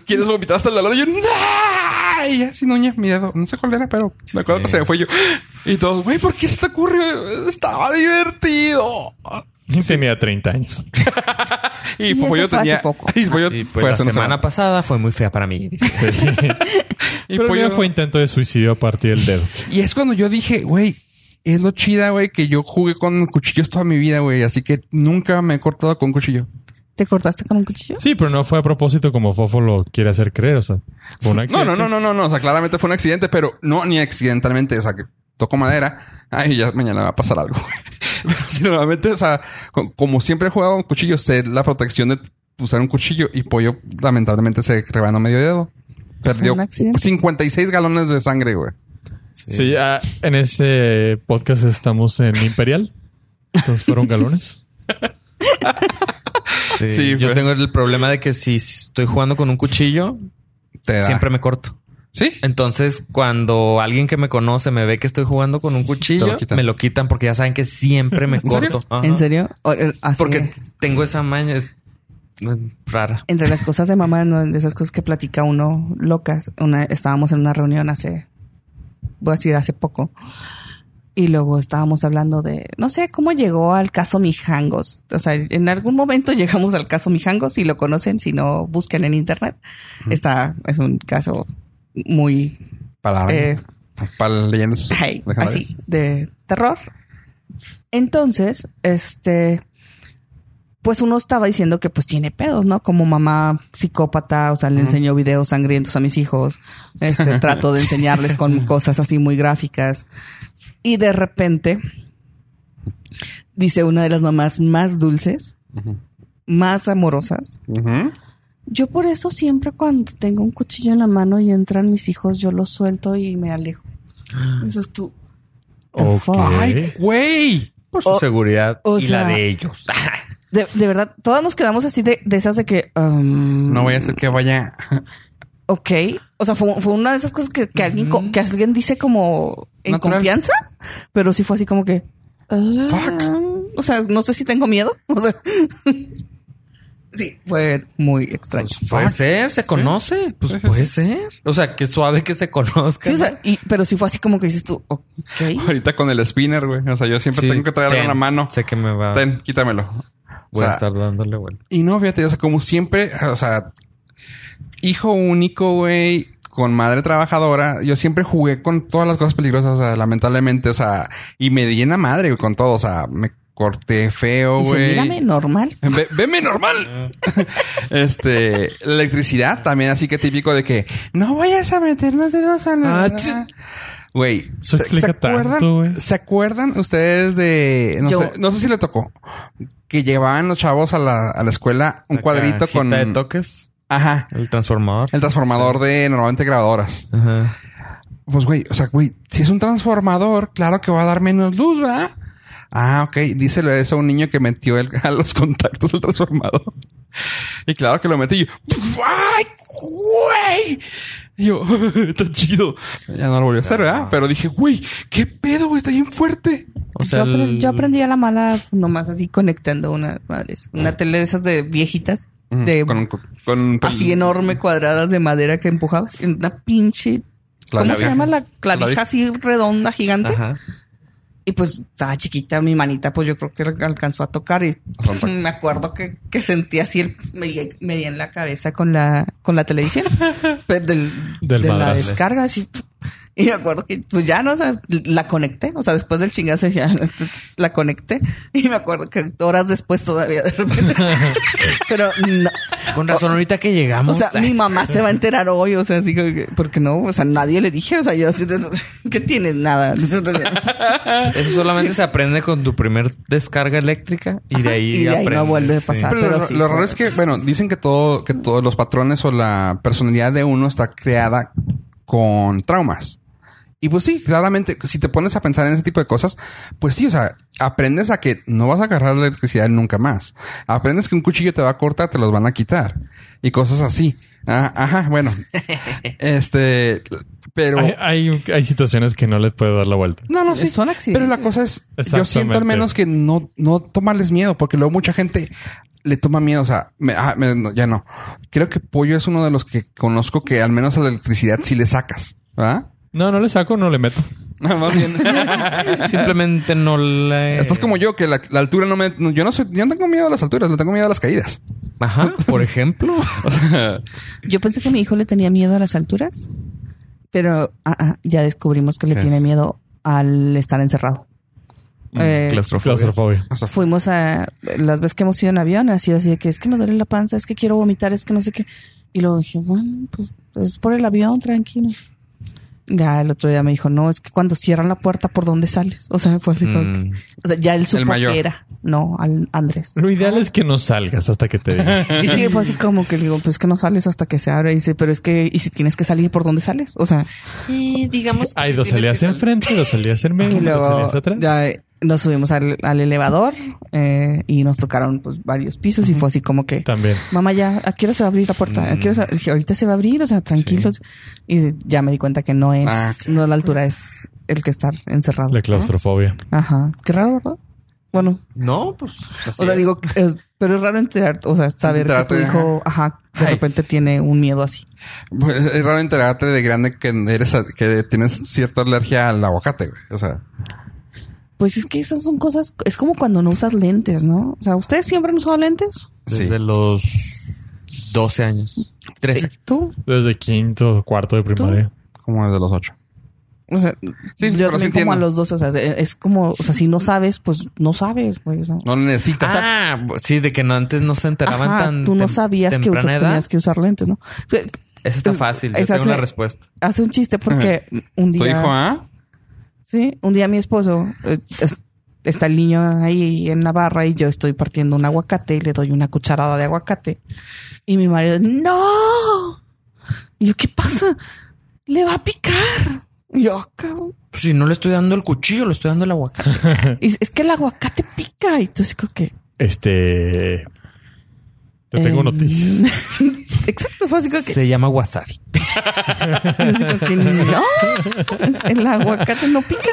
A: ¿Quieres vomitar hasta el dolor? Y yo, ¡no! Y ya sin uña, mi dedo. No sé cuál era, pero me acuerdo que se me fue yo. Y todos, güey, ¿por qué se te ocurrió? Estaba divertido.
D: Tenía 30 años.
A: Y,
B: Y
A: pues yo
B: eso fue hace
A: tenía.
B: poco.
A: [LAUGHS] Y pues yo
C: Y pues
A: fue
C: la
A: hace
C: semana,
A: una
C: pasada fue muy fea para mí. dice.
A: Y,
D: Pero
A: pues
D: ya
A: yo-
D: fue intento de suicidio a partir del dedo.
A: y es cuando yo dije, güey, es lo chida, güey, que yo jugué con cuchillos toda mi vida, güey. Así que nunca me he cortado con cuchillo.
B: ¿Te cortaste con un cuchillo?
D: Sí, pero no fue a propósito como Fofo lo quiere hacer creer. O sea, fue un
A: No,
D: accidente.
A: no, no, no, no, no. O sea, claramente fue un accidente, pero no ni accidentalmente. O sea, que toco madera. Ay, ya mañana va a pasar algo. güey. [LAUGHS] pero si normalmente, o sea, co- como siempre he jugado con cuchillos, sé la protección de usar un cuchillo y pollo, lamentablemente, se rebanó medio dedo. Perdió
B: Pues un accidente.
A: 56 galones de sangre, güey.
D: Sí, ah, en este podcast estamos en Imperial. Entonces fueron galones.
C: Sí.
A: Sí,
C: yo
A: pues.
C: tengo el problema de que si estoy jugando con un cuchillo,
A: Te da-
C: siempre me corto.
A: Sí.
C: Entonces, cuando alguien que me conoce me ve que estoy jugando con un cuchillo,
A: Te lo quitan.
C: me lo quitan porque ya saben que siempre me
A: ¿En serio?
C: corto. Ajá.
B: ¿En serio? O- eh, así
C: Porque
B: de-
C: tengo esa maña es- mm, rara.
B: Entre las cosas de mamá, ¿no? de esas cosas que platica uno locas, una, estábamos en una reunión hace, voy a decir hace poco, y luego estábamos hablando de, no sé cómo llegó al caso Mijangos. O sea, en algún momento [LAUGHS] llegamos al caso Mijangos, si lo conocen, si no, busquen en internet. Está, es un caso muy
A: Para,
B: Eh.
A: para leyendas.
B: Ay,
A: legendarias.
B: así, de terror. Entonces, este, pues uno estaba diciendo que pues tiene pedos, ¿no? Como mamá psicópata, o sea, le enseño videos sangrientos a mis hijos, este, trato de enseñarles con cosas así muy gráficas. Y de repente, dice una de las mamás más dulces,
A: Ujú.
B: más amorosas.
A: Ujú.
B: Yo por eso siempre cuando tengo un cuchillo en la mano y entran mis hijos, yo los suelto y me
A: [GASPS]
B: alejo. Eso es tu... the
D: Ok.
B: fuck?
A: Ay, güey.
C: Por su
B: O-
C: seguridad
B: o
C: y
B: sea-
C: la de ellos. Ah,
B: De, de verdad, todas nos quedamos así de, de esas de que... um,
A: No voy a hacer que vaya.
B: Ok. O sea, fue, fue una de esas cosas que, que alguien, co- que alguien dice como en
A: Natural.
B: confianza, pero sí fue así como que... ah, O sea, no sé si tengo miedo. [LAUGHS] O sea, sí, fue muy extraño.
C: Puede ser, se conoce. Pues
A: Sí, sí,
C: puede ser. O sea, qué suave que se conozca.
A: Pues,
B: Sí, o sea, y- pero sí fue así como que dices tú, ok.
A: Ahorita con el spinner, güey. O sea, yo siempre
C: Sí,
A: tengo que traer algo en la
C: ten.
A: mano.
C: Sé que me va.
A: Ten, quítamelo. O
C: Voy
A: sea,
C: a estar dándole vuelta.
A: Y no, fíjate, o sea, como siempre, o sea, hijo único, güey, con madre trabajadora, yo siempre jugué con todas las cosas peligrosas, o sea, lamentablemente, o sea, y me di en la madre güey, con todo, o sea, me corté feo,
B: Dice,
A: güey.
B: mírame, normal.
A: Ve- veme normal. [LAUGHS] este, la electricidad también, así que típico de que no vayas a meternos dedos a la.
D: Ah, ch-
A: Güey, ¿se-
D: Eso
A: ¿se
D: explica tanto,
A: acuerdan?
D: güey.
A: ¿Se acuerdan ustedes de no,
B: Yo-
A: sé, no sé si le tocó que llevaban los chavos a la, a la escuela un
C: La
A: cuadrito con
C: cajita de toques,
A: ajá,
C: el transformador.
A: el transformador de normalmente grabadoras?
C: Ajá.
A: Pues güey, o sea, güey, si es un transformador, claro que va a dar menos luz, ¿verdad? Ah, ok. Díselo eso a un niño que metió el- [LAUGHS] a los contactos del transformador. Y claro que lo metí y yo, ¡ay, güey! Y yo, [LAUGHS] está chido. Ya no lo volví a hacer, ¿verdad? Pero dije, güey, ¿qué pedo, güey? Está bien fuerte.
C: O sea,
B: yo, apre-
C: el-
B: yo aprendí a la mala nomás así conectando una madres,
C: Mm.
B: una tele de esas de viejitas, de
A: Con, con- con-
B: así enorme cuadradas de madera que empujabas en una pinche ¿Cómo
A: Clavija.
B: se llama la clavija
A: Clavija.
B: así redonda gigante?
C: Ajá.
B: Y pues estaba chiquita mi manita, pues yo creo que alcanzó a tocar y
A: Rompa.
B: [LAUGHS] me acuerdo que, que sentí así el me, di- me di en la cabeza con la con la televisión Pero del,
D: Del
B: de la
D: madrazo.
B: descarga así. Y me acuerdo que pues ya no, o sea, la conecté, o sea, después del chingazo ya [LAUGHS] la conecté y me acuerdo que horas después todavía de repente. [LAUGHS] Pero no,
C: Con razón, ahorita que
B: O
C: llegamos.
B: sea, mi mamá se va a enterar hoy, o sea, así que, porque no, o sea, nadie le dije, o sea, yo así, [LAUGHS] ¿qué tienes? Nada.
C: [LAUGHS] Eso solamente se aprende con tu primer descarga eléctrica y de ahí
B: y de ahí no
C: aprendes,
B: vuelve a
C: sí.
B: pasar. Ah,
A: Pero
B: pero
A: lo,
B: sí,
A: lo
B: pero-
A: raro es que, bueno, dicen que todo, que todos los patrones o la personalidad de uno está creada con traumas. Y pues sí, claramente, si te pones a pensar en ese tipo de cosas, pues sí, o sea, aprendes a que no vas a agarrar la electricidad nunca más. Aprendes que un cuchillo te va a cortar, te los van a quitar. Y cosas así. Ah, ajá, bueno.
B: [LAUGHS]
A: este, pero...
D: Hay, hay- hay situaciones que no les puedo dar la vuelta.
A: No, no, sí.
B: Son accidentes.
A: Pero la cosa es, yo siento al
D: Exactamente.
A: menos que no, no tomarles miedo, porque luego mucha gente le toma miedo. O sea, me- ah, me- no, ya no. Creo que Pollo es uno de los que conozco que al menos a la electricidad sí le sacas. ¿Verdad?
D: No, no le saco, no le meto.
A: Más bien.
C: Simplemente no le.
A: [LAUGHS] Estás como yo, que la, la altura no me. no, yo no soy, yo no tengo miedo a las alturas, no tengo miedo a las caídas.
C: Ajá, [LAUGHS] por ejemplo.
B: [LAUGHS] Yo pensé que mi hijo le tenía miedo a las alturas, pero ah, ah, ya descubrimos que le
A: ¿Qué
B: tiene
A: es? Mm,
B: miedo al estar encerrado. Eh,
A: Claustrofobia.
D: Claustrofobia.
A: O sea,
B: fuimos a las veces que hemos ido en avión, así así de que es que me duele la panza, es que quiero vomitar, es que no sé qué. Y luego dije, bueno, pues es por el avión, tranquilo. Ya el otro día me dijo, no, es que cuando cierran la puerta, ¿por dónde sales? O sea, fue así como que-
C: Mm.
B: O sea, ya él supo
A: mayor.
B: que era. No, al Andrés.
D: Lo ideal es que no salgas hasta que te diga.
B: Y sí, fue así como que le digo, pues es que no sales hasta que se abra. Y dice, pero es que, ¿y si tienes que salir, por dónde sales? O sea,
E: Y digamos. que
D: [LAUGHS] Hay
E: si
D: dos
E: tienes
D: salidas
E: que sal-
D: enfrente, dos salidas en medio,
B: y
D: dos
B: luego
D: salidas atrás.
B: ya eh, nos subimos al, al elevador eh, y nos tocaron pues varios pisos y fue así como que,
D: También.
B: mamá, ya, ¿a qué hora se va a abrir la puerta? ¿A qué hora se- dije, ahorita se va a abrir, o sea, tranquilos. Y ya me di cuenta que no es,
A: Ah, ok.
B: no es la altura, es el que estar encerrado.
D: La claustrofobia.
B: Ajá. Qué raro, ¿verdad? Bueno,
C: No, pues. así
B: o sea,
C: es.
B: digo, es- pero es raro enterar, o sea, saber que tu
A: Enterarte,
B: hijo, ajá, de
A: Ay.
B: repente tiene un miedo así.
A: pues, es raro enterarte de grande que eres a- que tienes cierta alergia al aguacate, güey. O sea,
B: Pues es que esas son cosas, es como cuando no usas lentes, ¿no? O sea, ¿ustedes siempre han usado lentes?
C: Desde
A: sí.
C: los 12 años. 13.
B: ¿Tú?
D: Desde quinto o cuarto de primaria.
A: Como desde los ocho.
B: O sea,
A: Sí, pues,
B: yo
A: pero sí
B: también
A: entiendo.
B: como a los 12, o sea, de- es como, o sea, si no sabes, pues no sabes, pues. ¿no?
A: No lo necesitas.
C: Ah, sí, de que no, antes no se enteraban
B: Ajá,
C: tan.
B: tú no
C: tem-
B: sabías que
C: temprana
B: usa-
C: edad.
B: tenías pues, que usar lentes, ¿no? Fe-
C: Eso está fácil. Yo
B: Esa
C: tengo
B: se-
C: una respuesta.
B: Hace un
A: [LAUGHS]
B: chiste porque un
A: ¿Tu hijo,
B: día,
A: ah?
B: sí, un día mi esposo eh, es- está el niño ahí en la barra y yo estoy partiendo un aguacate y le doy una cucharada de aguacate y mi marido, no. Y yo, ¿qué pasa? Le va a picar. Y yo, "Ah, cabrón.
C: Pues si no le estoy dando el cuchillo, le estoy dando el aguacate.
B: Y dice, es que el aguacate pica. Y entonces creo que.
D: Este. Te tengo
B: eh,
D: noticias.
B: [LAUGHS] Exacto, fue así como que.
C: Se llama wasabi.
B: así como que, no, es- el aguacate no pica.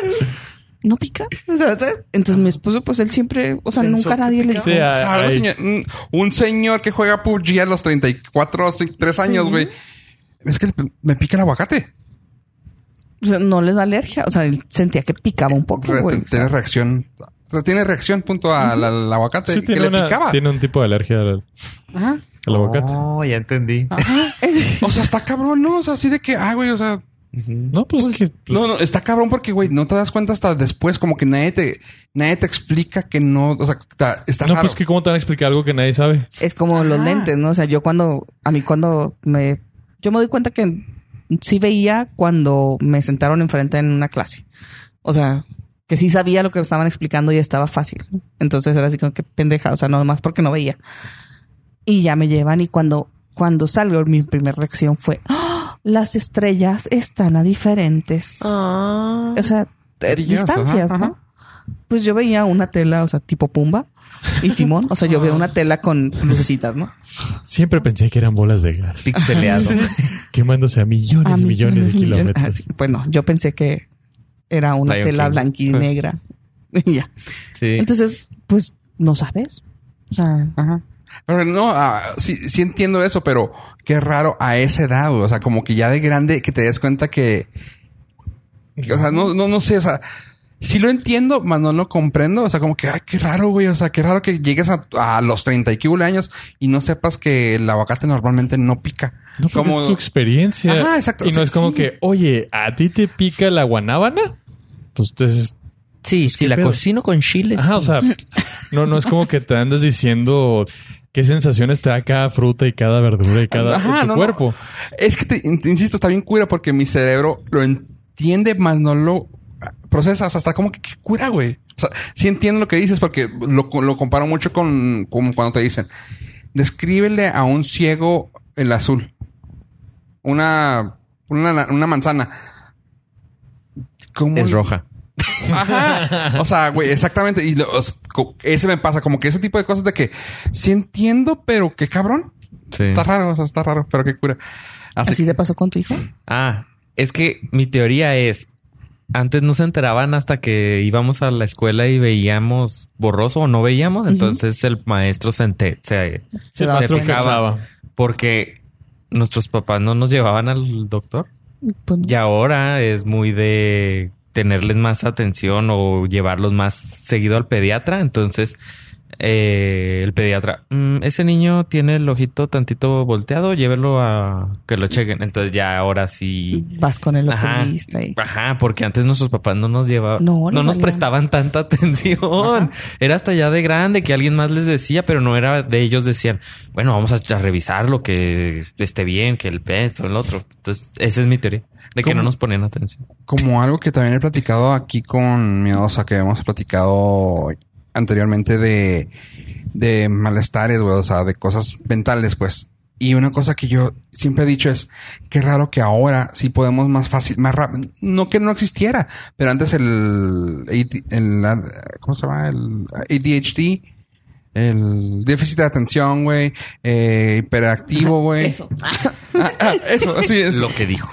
B: No pica. O sea, ¿sabes? Entonces mi esposo, pues él siempre, o sea, nunca nadie le dijo.
D: [LAUGHS] Sí,
A: O sea, algo
D: hay-
A: señor- un- un señor que juega PUBG a los 34, 3 años, güey. Es que me pica el aguacate.
B: O sea, no le da alergia. O sea, él sentía que picaba un poco,
A: Re-
B: güey.
A: tiene reacción. re- Tiene reacción punto al, al aguacate
D: Sí,
A: que
D: tiene,
A: le
D: una-
A: picaba.
D: tiene un tipo de alergia al,
A: Ajá.
D: al aguacate.
C: Oh, ya entendí.
B: Ah.
A: O sea, está cabrón, ¿no? O sea, así de que, ah, güey, o sea,
D: No, pues, que.
A: no, no, está cabrón porque, güey, no te das cuenta hasta después, como que nadie te, nadie te explica que no, o sea, está, está
D: no,
A: raro.
D: pues que cómo te van a explicar algo que nadie sabe.
B: [LAUGHS] Es como los lentes, ¿no? O sea, yo cuando, a mí cuando me, yo me doy cuenta que sí veía cuando me sentaron enfrente en una clase. O sea, que sí sabía lo que estaban explicando y estaba fácil. Entonces era así como que pendeja, o sea, no más porque no veía. Y ya me llevan y cuando, cuando salgo, mi primera reacción fue, ¡Ah! las estrellas están a diferentes, o sea, eh,
A: Brillos, ajá,
B: distancias, ¿no?
A: ajá.
B: Pues yo veía una tela, o sea, tipo pumba y timón. O sea, yo veo una tela con lucecitas, ¿no?
D: Siempre pensé que eran bolas de gas.
B: [LAUGHS]
C: Pixeleado.
D: Quemándose a Ah, millones
B: A
D: y millones de
B: millones,
D: kilómetros.
B: ah, sí. Pues no, yo pensé que era una
C: Lion
B: tela
C: King.
B: blanca y
A: Sí.
B: negra. [LAUGHS] Y ya.
C: Sí.
B: Entonces, pues no sabes. O sea,
A: Ajá. Pero no, ah, sí, sí entiendo eso, pero qué raro a esa edad, güey. O sea, como que ya de grande que te des cuenta que. que, O sea, no, no, no sé, o sea. Sí lo entiendo, mas no lo comprendo. O sea, como que, ay, qué raro, güey. O sea, qué raro que llegues a, a los 30 y que años y no sepas que el aguacate normalmente no pica.
D: No, porque es tu experiencia.
A: Ajá, exacto.
D: Y no
A: Sí,
D: es como
A: sí.
D: que, oye, ¿a ti te pica la guanábana? Pues entonces,
C: Sí, si
D: ¿Qué
C: la
D: pedo?
C: cocino con chiles.
D: ajá, o
C: Pues sí.
D: sea, no, no es como que te andas diciendo, qué sensaciones te da cada fruta y cada verdura y cada
A: Ajá,
D: en tu
A: no, no.
D: cuerpo.
A: Es que, te, te insisto, está bien cura porque mi cerebro lo entiende, más no lo procesa. O sea, está como que ¿qué cura, güey. O sea, sí entiendo lo que dices porque lo, lo comparo mucho con, con cuando te dicen, descríbele a un ciego el azul. Una, una, una manzana. ¿Cómo
C: Es
A: le-
C: roja.
A: Ajá. O sea, güey, exactamente. Y lo- o sea, co- ese me pasa, como que ese tipo de cosas de que sí entiendo, pero qué cabrón.
C: Sí.
A: Está raro, o sea, está raro, pero qué cura. Así,
B: ¿Así te pasó con tu hijo?
C: Ah, es que mi teoría es, antes no se enteraban hasta que íbamos a la escuela y veíamos borroso o no veíamos, entonces el maestro se, ente- se,
B: Se
D: El
B: daba
D: maestro
C: cuenta.
D: escuchaba.
C: porque nuestros papás no nos llevaban al doctor
B: Pues,
C: y ahora es muy de tenerles más atención o llevarlos más seguido al pediatra, entonces eh, el pediatra, "Mm, ese niño tiene el ojito tantito volteado, llévelo a que lo chequen, entonces ya ahora sí
B: Vas con el
C: Ajá,
B: oculista y...
C: ajá, porque antes nuestros papás no nos llevaban,
B: No,
C: no,
B: les
C: nos
B: valía.
C: prestaban tanta [LAUGHS] atención. Era hasta ya de grande que alguien más les decía, pero no era de ellos decían, bueno, vamos a, a revisar lo que esté bien, que el peso, el otro. Entonces, esa es mi teoría de que
A: ¿Cómo?
C: no nos ponían atención.
A: como algo que también he platicado aquí con Miedosa, que hemos platicado anteriormente de, de malestares, güey, o sea, de cosas mentales, pues. Y una cosa que yo siempre he dicho es, qué raro que ahora sí podemos más fácil, más rápido, no que no existiera, pero antes el, AD el ah, ¿cómo se llama? El ADHD, el déficit de atención, güey, eh, hiperactivo, güey.
C: Pues,
B: Eso.
A: Ah, ah, eso, sí, es.
C: Lo
A: [LAUGHS]
C: que dijo.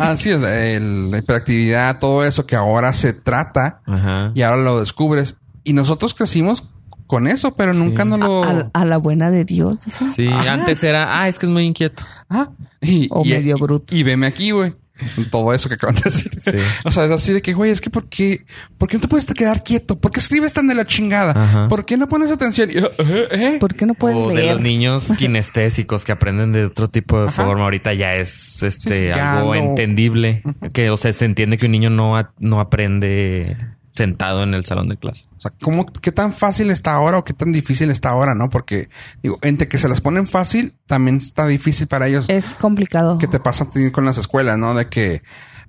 A: Así es, Ah, el- la hiperactividad, todo eso que ahora se trata
C: Ajá.
A: y ahora lo descubres. Y nosotros crecimos con eso, pero nunca nos lo...
B: [LAUGHS] A, a la buena de Dios, dice.
C: Sí, antes era, ah, es que es muy inquieto.
A: Ah, y,
B: O
A: y-
B: medio bruto.
A: Y, veme aquí, güey. Con Todo eso que acaban de decir.
C: Sí.
A: O sea, es así de que, güey, es que ¿por qué, ¿por qué no te puedes quedar quieto? ¿Por qué escribes tan de la chingada?
C: Ajá.
A: ¿Por qué no pones atención? Y, eh, eh, eh.
B: ¿Por qué no puedes
C: o de
B: leer?
A: [LAUGHS]
C: los niños kinestésicos que aprenden de otro tipo de
A: Ajá.
C: forma. Ahorita ya es este
A: Sí, sí, ya no.
C: algo entendible. Que, o sea, se entiende que un niño no, a- no aprende sentado en el salón de clase.
A: O sea, ¿cómo, ¿qué tan fácil está ahora o qué tan difícil está ahora, no? Porque, digo, entre que se las ponen fácil, también está difícil para ellos.
B: Es complicado.
A: que te pasa a ti con las escuelas, ¿no? De que,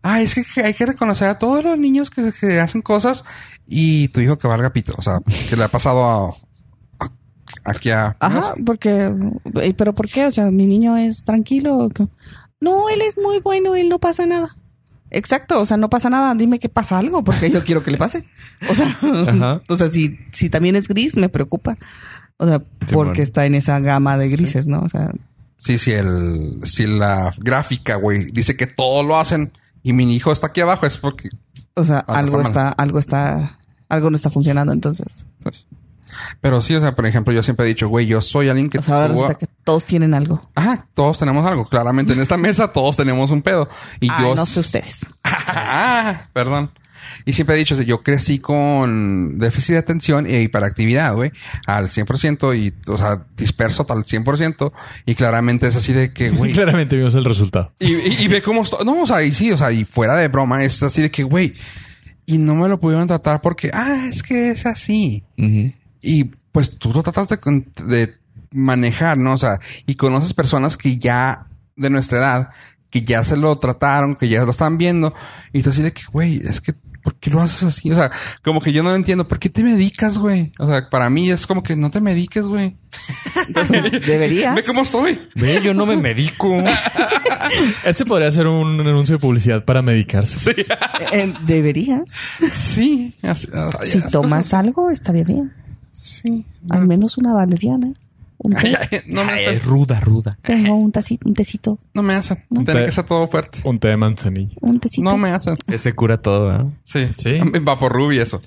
A: ah, es que hay que reconocer a todos los niños que, que hacen cosas y tu hijo que valga pito, o sea, que le ha pasado a, a- aquí a...
B: Ajá, porque... eh, ¿Pero por qué? O sea, mi niño es tranquilo. ¿qué? No, él es muy bueno, él no pasa nada. Exacto, o sea, no pasa nada. Dime que pasa algo, porque yo quiero que le pase. O sea,
C: Ajá.
B: [LAUGHS] o sea si, si también es gris, me preocupa. O sea,
C: Sí,
B: porque
C: bueno.
B: está en esa gama de grises, ¿no? O sea,
A: Sí, sí, el, si la gráfica, güey, dice que todo lo hacen y mi hijo está aquí abajo, es porque...
B: o sea,
A: Ah,
B: algo
A: está mal.
B: está, algo está, algo no está funcionando entonces.
A: Pero sí, o sea, por ejemplo, yo siempre he dicho, güey, yo soy alguien que...
B: O sea, ahora
A: tuvo-
B: resulta que todos tienen algo.
A: Ajá, todos tenemos algo. Claramente en esta mesa todos tenemos un pedo. Y
B: Ay,
A: yo
B: no
A: [LAUGHS]
B: sé ustedes.
A: Ah, [LAUGHS] perdón. Y siempre he dicho, o sea, yo crecí con déficit de atención e hiperactividad, güey, al 100% y, o sea, disperso al 100% y claramente es así de
D: [LAUGHS]
A: que, güey.
D: [LAUGHS] Claramente vimos el resultado.
A: y, y- y ve cómo estoy. No, o sea, y sí, o sea, y fuera de broma, es así de que, güey, y no me lo pudieron tratar porque, ah, es que es así. Y pues tú lo tratas de, con- de manejar, ¿no? O sea, y conoces personas que ya de nuestra edad, que ya se lo trataron, que ya lo están viendo, y tú así de que, güey, es que, ¿por qué lo haces así? O sea, como que yo no lo entiendo, ¿por qué te medicas, güey? O sea, para mí es como que no te mediques, güey.
B: Debería.
A: Ve cómo estoy.
C: Ve, yo no
A: [LAUGHS]
C: me medico.
D: Este podría ser un anuncio de publicidad para medicarse.
B: Eh, Deberías.
A: Sí. así- o sea,
B: Si
A: ya-
B: tomas algo, estaría bien.
A: Sí.
B: Al menos una valeriana. Un té.
A: No me
C: Ay,
A: hacen.
C: Ah, es ruda, ruda.
B: Tengo un, tacito, un tecito.
A: No me hacen. Tiene
D: Te-
A: que ser todo fuerte.
D: Un té de manzanilla.
B: Un tecito.
A: No me hacen.
C: Ese cura todo, ¿verdad?
A: Sí.
D: Sí.
A: Vapor rubio eso.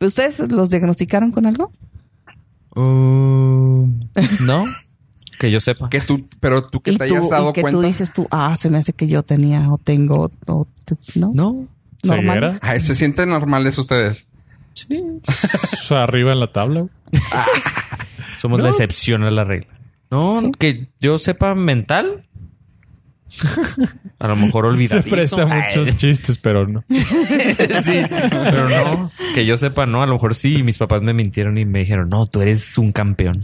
B: ¿Ustedes los diagnosticaron con algo?
A: [LAUGHS]
C: Um, no, que yo sepa.
A: Que tú, pero tú que
B: y
A: te hayas
B: tú,
A: dado
B: y que
A: cuenta.
B: tú dices tú, ah, se me hace que yo tenía o tengo, o tú- ¿no?
C: No,
B: Normales.
A: Ay, se sienten normales ustedes.
C: sí.
D: O sea, arriba en la tabla. güey.
A: [LAUGHS]
C: Somos la excepción a la regla. No, que yo sepa mental. A lo mejor olvidar.
D: Se presta muchos chistes, pero no.
C: sí, pero no. Que yo sepa, no. A lo mejor sí. Mis papás me mintieron y me dijeron, no, tú eres un campeón.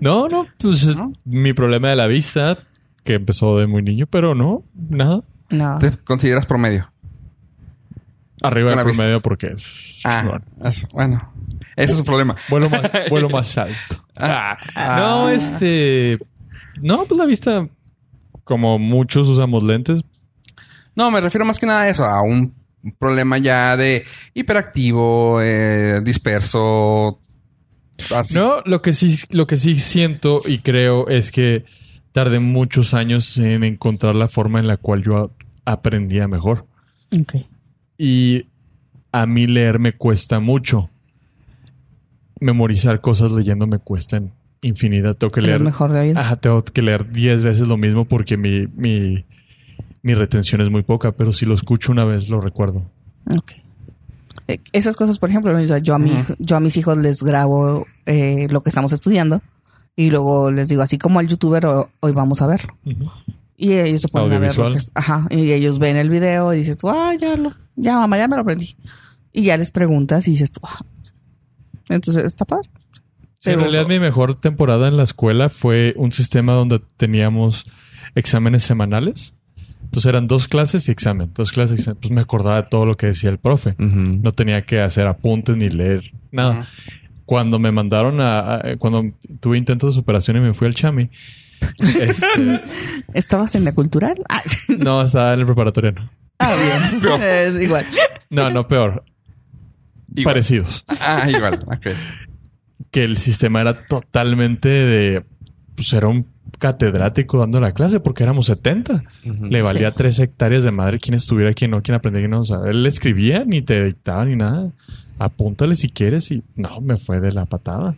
D: No, no, pues es mi problema de la vista, que empezó de muy niño, pero no, nada.
B: No.
A: ¿Te consideras promedio?
D: Arriba
A: Con
D: del
A: la vista.
D: promedio porque es
A: Ah,
D: chingón.
A: eso, bueno. Ese es un problema.
D: vuelo más, vuelo más alto.
A: [LAUGHS] Ah,
D: No, este. No, pues la vista, como muchos usamos lentes,
A: No, me refiero más que nada a eso, a un problema ya de hiperactivo, eh, disperso. Así.
D: No, lo que sí, lo que sí siento y creo es que tardé muchos años en encontrar la forma en la cual yo a- aprendía mejor.
B: Ok.
D: Y a mí leer me cuesta mucho. Memorizar cosas leyendo me cuesta en infinidad. Tengo que Ah.
B: Es
D: leer.
B: mejor de oído.
D: Ajá, tengo que leer 10 veces lo mismo porque mi, mi, mi retención es muy poca, pero si lo escucho una vez lo recuerdo.
B: Ok. Eh, Esas cosas, por ejemplo, o sea, yo, a mi,
A: Ujú.
B: yo a mis hijos les grabo eh, lo que estamos estudiando y luego les digo, así como al youtuber, ho- hoy vamos a verlo. Y ellos se ponen a ver lo
D: Audiovisual.
B: que es- Ajá. Y ellos ven el video y dices tú, ah, ya lo, ya mamá, ya me lo aprendí. Y ya les preguntas y dices tú, ah. Entonces está padre.
D: Sí, en
B: Pero-
D: realidad mi mejor temporada en la escuela fue un sistema donde teníamos exámenes semanales. Entonces eran dos clases y examen, dos clases y examen. Pues me acordaba de todo lo que decía el profe.
C: Ujú.
D: No tenía que hacer apuntes ni leer nada. Cuando me mandaron a, a- Cuando tuve intento de superación y me fui al chami. este,
B: ¿Estabas en la cultural? [LAUGHS] Ah, sí.
D: no, estaba en el preparatoriano.
B: Ah,
A: [LAUGHS]
B: bien. [LAUGHS] es igual.
D: No, no, peor.
A: Igual.
D: Parecidos.
A: Ah, igual. ok.
D: que el sistema era totalmente de. Pues era un catedrático dando la clase porque éramos 70.
C: Ujú.
D: Le valía
B: Sí.
D: tres hectáreas de madre quién estuviera, quién no, quién aprendía, quién no. O sea, él escribía, ni te dictaba, ni nada. Apúntale si quieres y no, me fue de la patada.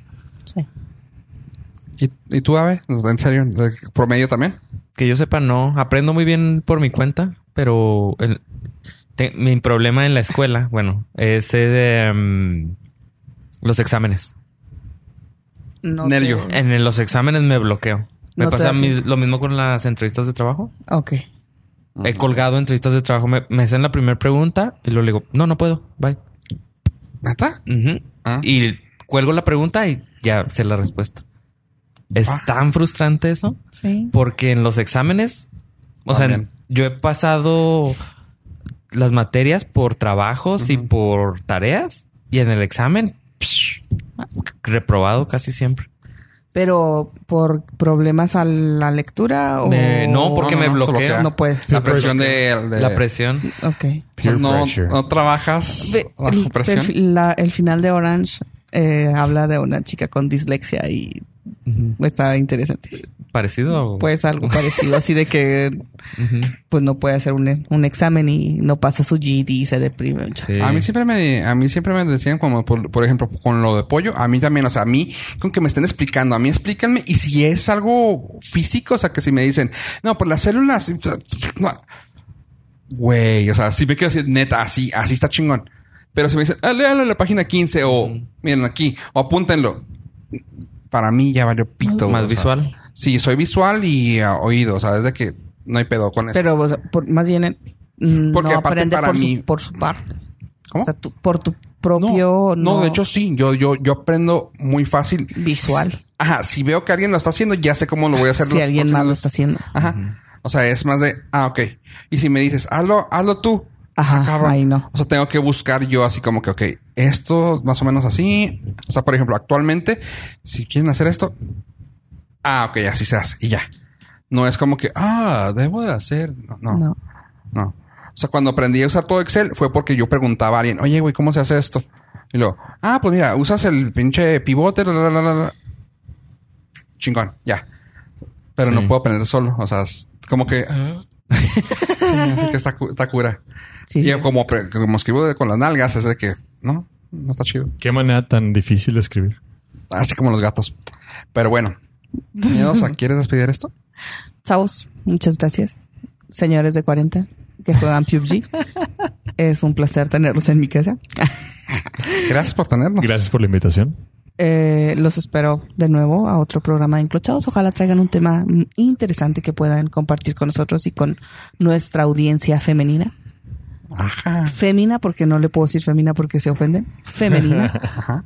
A: ¿Y, y tú, Ave? ¿En serio? ¿De- ¿Promedio también?
C: Que yo sepa, no. Aprendo muy bien por mi cuenta, pero el- te- mi problema en la escuela, bueno, es eh, de, em, los exámenes.
B: No
A: Nervio. Eh.
B: te-
C: En el- los exámenes me bloqueo. Me
B: No te
C: pasa
B: da
C: mi-
B: tiempo.
C: lo mismo con las entrevistas de trabajo.
B: Ok.
C: He colgado entrevistas de trabajo. Me, me hacen la primera pregunta y luego le digo, no, no puedo. Bye.
A: ¿Neta?
C: Ujú.
A: Ah.
C: Y cuelgo la pregunta y ya sé la respuesta. Es
A: Ah.
C: tan frustrante eso
B: Sí.
C: porque en los exámenes, o sea,
A: También.
C: yo he pasado las materias por trabajos y
A: Ujú.
C: por tareas y en el examen psh, reprobado casi siempre.
B: Pero por problemas a la lectura o
C: Me- no, porque
A: Oh, No, no,
C: me
A: no, se
C: bloqueo.
A: bloquea.
B: no puedes.
A: La presión de... de-
C: La presión.
B: Ok.
A: O sea,
E: Peer
A: no,
E: pressure.
A: no trabajas
B: Ve-
A: bajo
B: el,
A: presión.
B: perfil- la- el final de Orange eh, habla de una chica con dislexia y está interesante.
C: Parecido. o-
B: Pues algo parecido, así de que
C: Ujú.
B: pues no puede hacer un, un examen y no pasa su GD y se deprime.
C: Sí.
A: A mí siempre me, a mí siempre me decían como por, por ejemplo con lo de pollo, a mí también, o sea, a mí con que me estén explicando, a mí explícanme y si es algo físico, o sea, que si me dicen, no, pues las células, no. güey, o sea, si me quedo así, neta, así, así está chingón. Pero si me dicen, ah, léanlo en la página 15 o miren aquí o apúntenlo. Para mí ya valió pito.
C: Más
A: o sea.
C: visual.
A: Sí, soy visual y ah, oído, o sea, desde que no hay pedo con eso.
B: Pero o sea, por- más bien mm,
A: Porque
B: no
A: aparte
B: aprende
A: para
B: por,
A: mí-
B: su, por su parte.
A: ¿Cómo?
B: O sea, tú- por tu propio...
A: no, de hecho sí, yo, yo, yo aprendo muy fácil.
B: Visual. Ah,
A: Ajá, si veo que alguien lo está haciendo, ya sé cómo lo voy a hacer.
B: si
A: los
B: alguien
A: próximos
B: más lo
A: días.
B: está haciendo.
A: Ajá. O sea, es más de, ah, ok. Y si me dices, hazlo, hazlo tú.
B: Ajá,
A: Ah, cabrón.
B: ahí no.
A: O sea, tengo que buscar yo así como que, ok, esto más o menos así. O sea, por ejemplo, actualmente, si quieren hacer esto, ah, ok, así se hace y ya. No es como que, ah, debo de hacer. No, no.
B: No.
A: No. O sea, cuando aprendí a usar todo Excel fue porque yo preguntaba a alguien, oye, güey, ¿cómo se hace esto? Y luego, ah, pues mira, usas el pinche pivote, la, la, la, la, la". chingón, ya. Pero
C: Sí.
A: no puedo aprender solo. O sea, es como que. "Ah". Sí, así que está, cu- está cura.
B: Sí,
A: y
B: sí.
A: como, pre- como escribo de- con las nalgas, es de que no, no está chido.
D: Qué manera tan difícil de escribir.
A: Así como los gatos. Pero bueno, miedosa, ¿quieres despedir esto?
B: Chavos, muchas gracias. Señores de 40 que juegan PUBG.
A: [LAUGHS]
B: es un placer tenerlos en mi casa.
A: Gracias por tenernos.
D: Gracias por la invitación.
B: eh, los espero de nuevo a otro programa de Enclochados. Ojalá traigan un tema mm, interesante que puedan compartir con nosotros y con nuestra audiencia femenina. Ah.
A: Ajá.
B: Femina, porque no le puedo decir femina porque se ofenden. [LAUGHS] Femenina.
A: Ajá.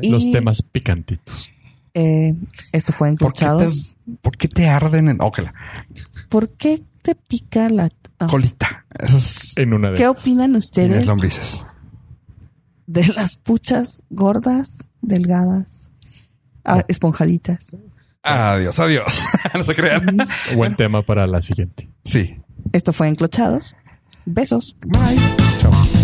B: Y,
D: Los temas picantitos.
B: eh, esto fue
A: ¿Por qué, te,
B: Enclochados.
A: ¿Por qué te arden en ócala?
B: ¿Por qué te pica la... ah,
A: Colita. Esas
D: En una de
B: ¿Qué
D: esas.
B: opinan ustedes
A: las lombrices.
B: de las puchas gordas, delgadas, ah, esponjaditas?
A: Adiós, adiós. [LAUGHS] no se crean.
D: Buen tema para la siguiente.
A: Sí.
B: Esto fue Enclochados. Besos.
A: Bye. Chao.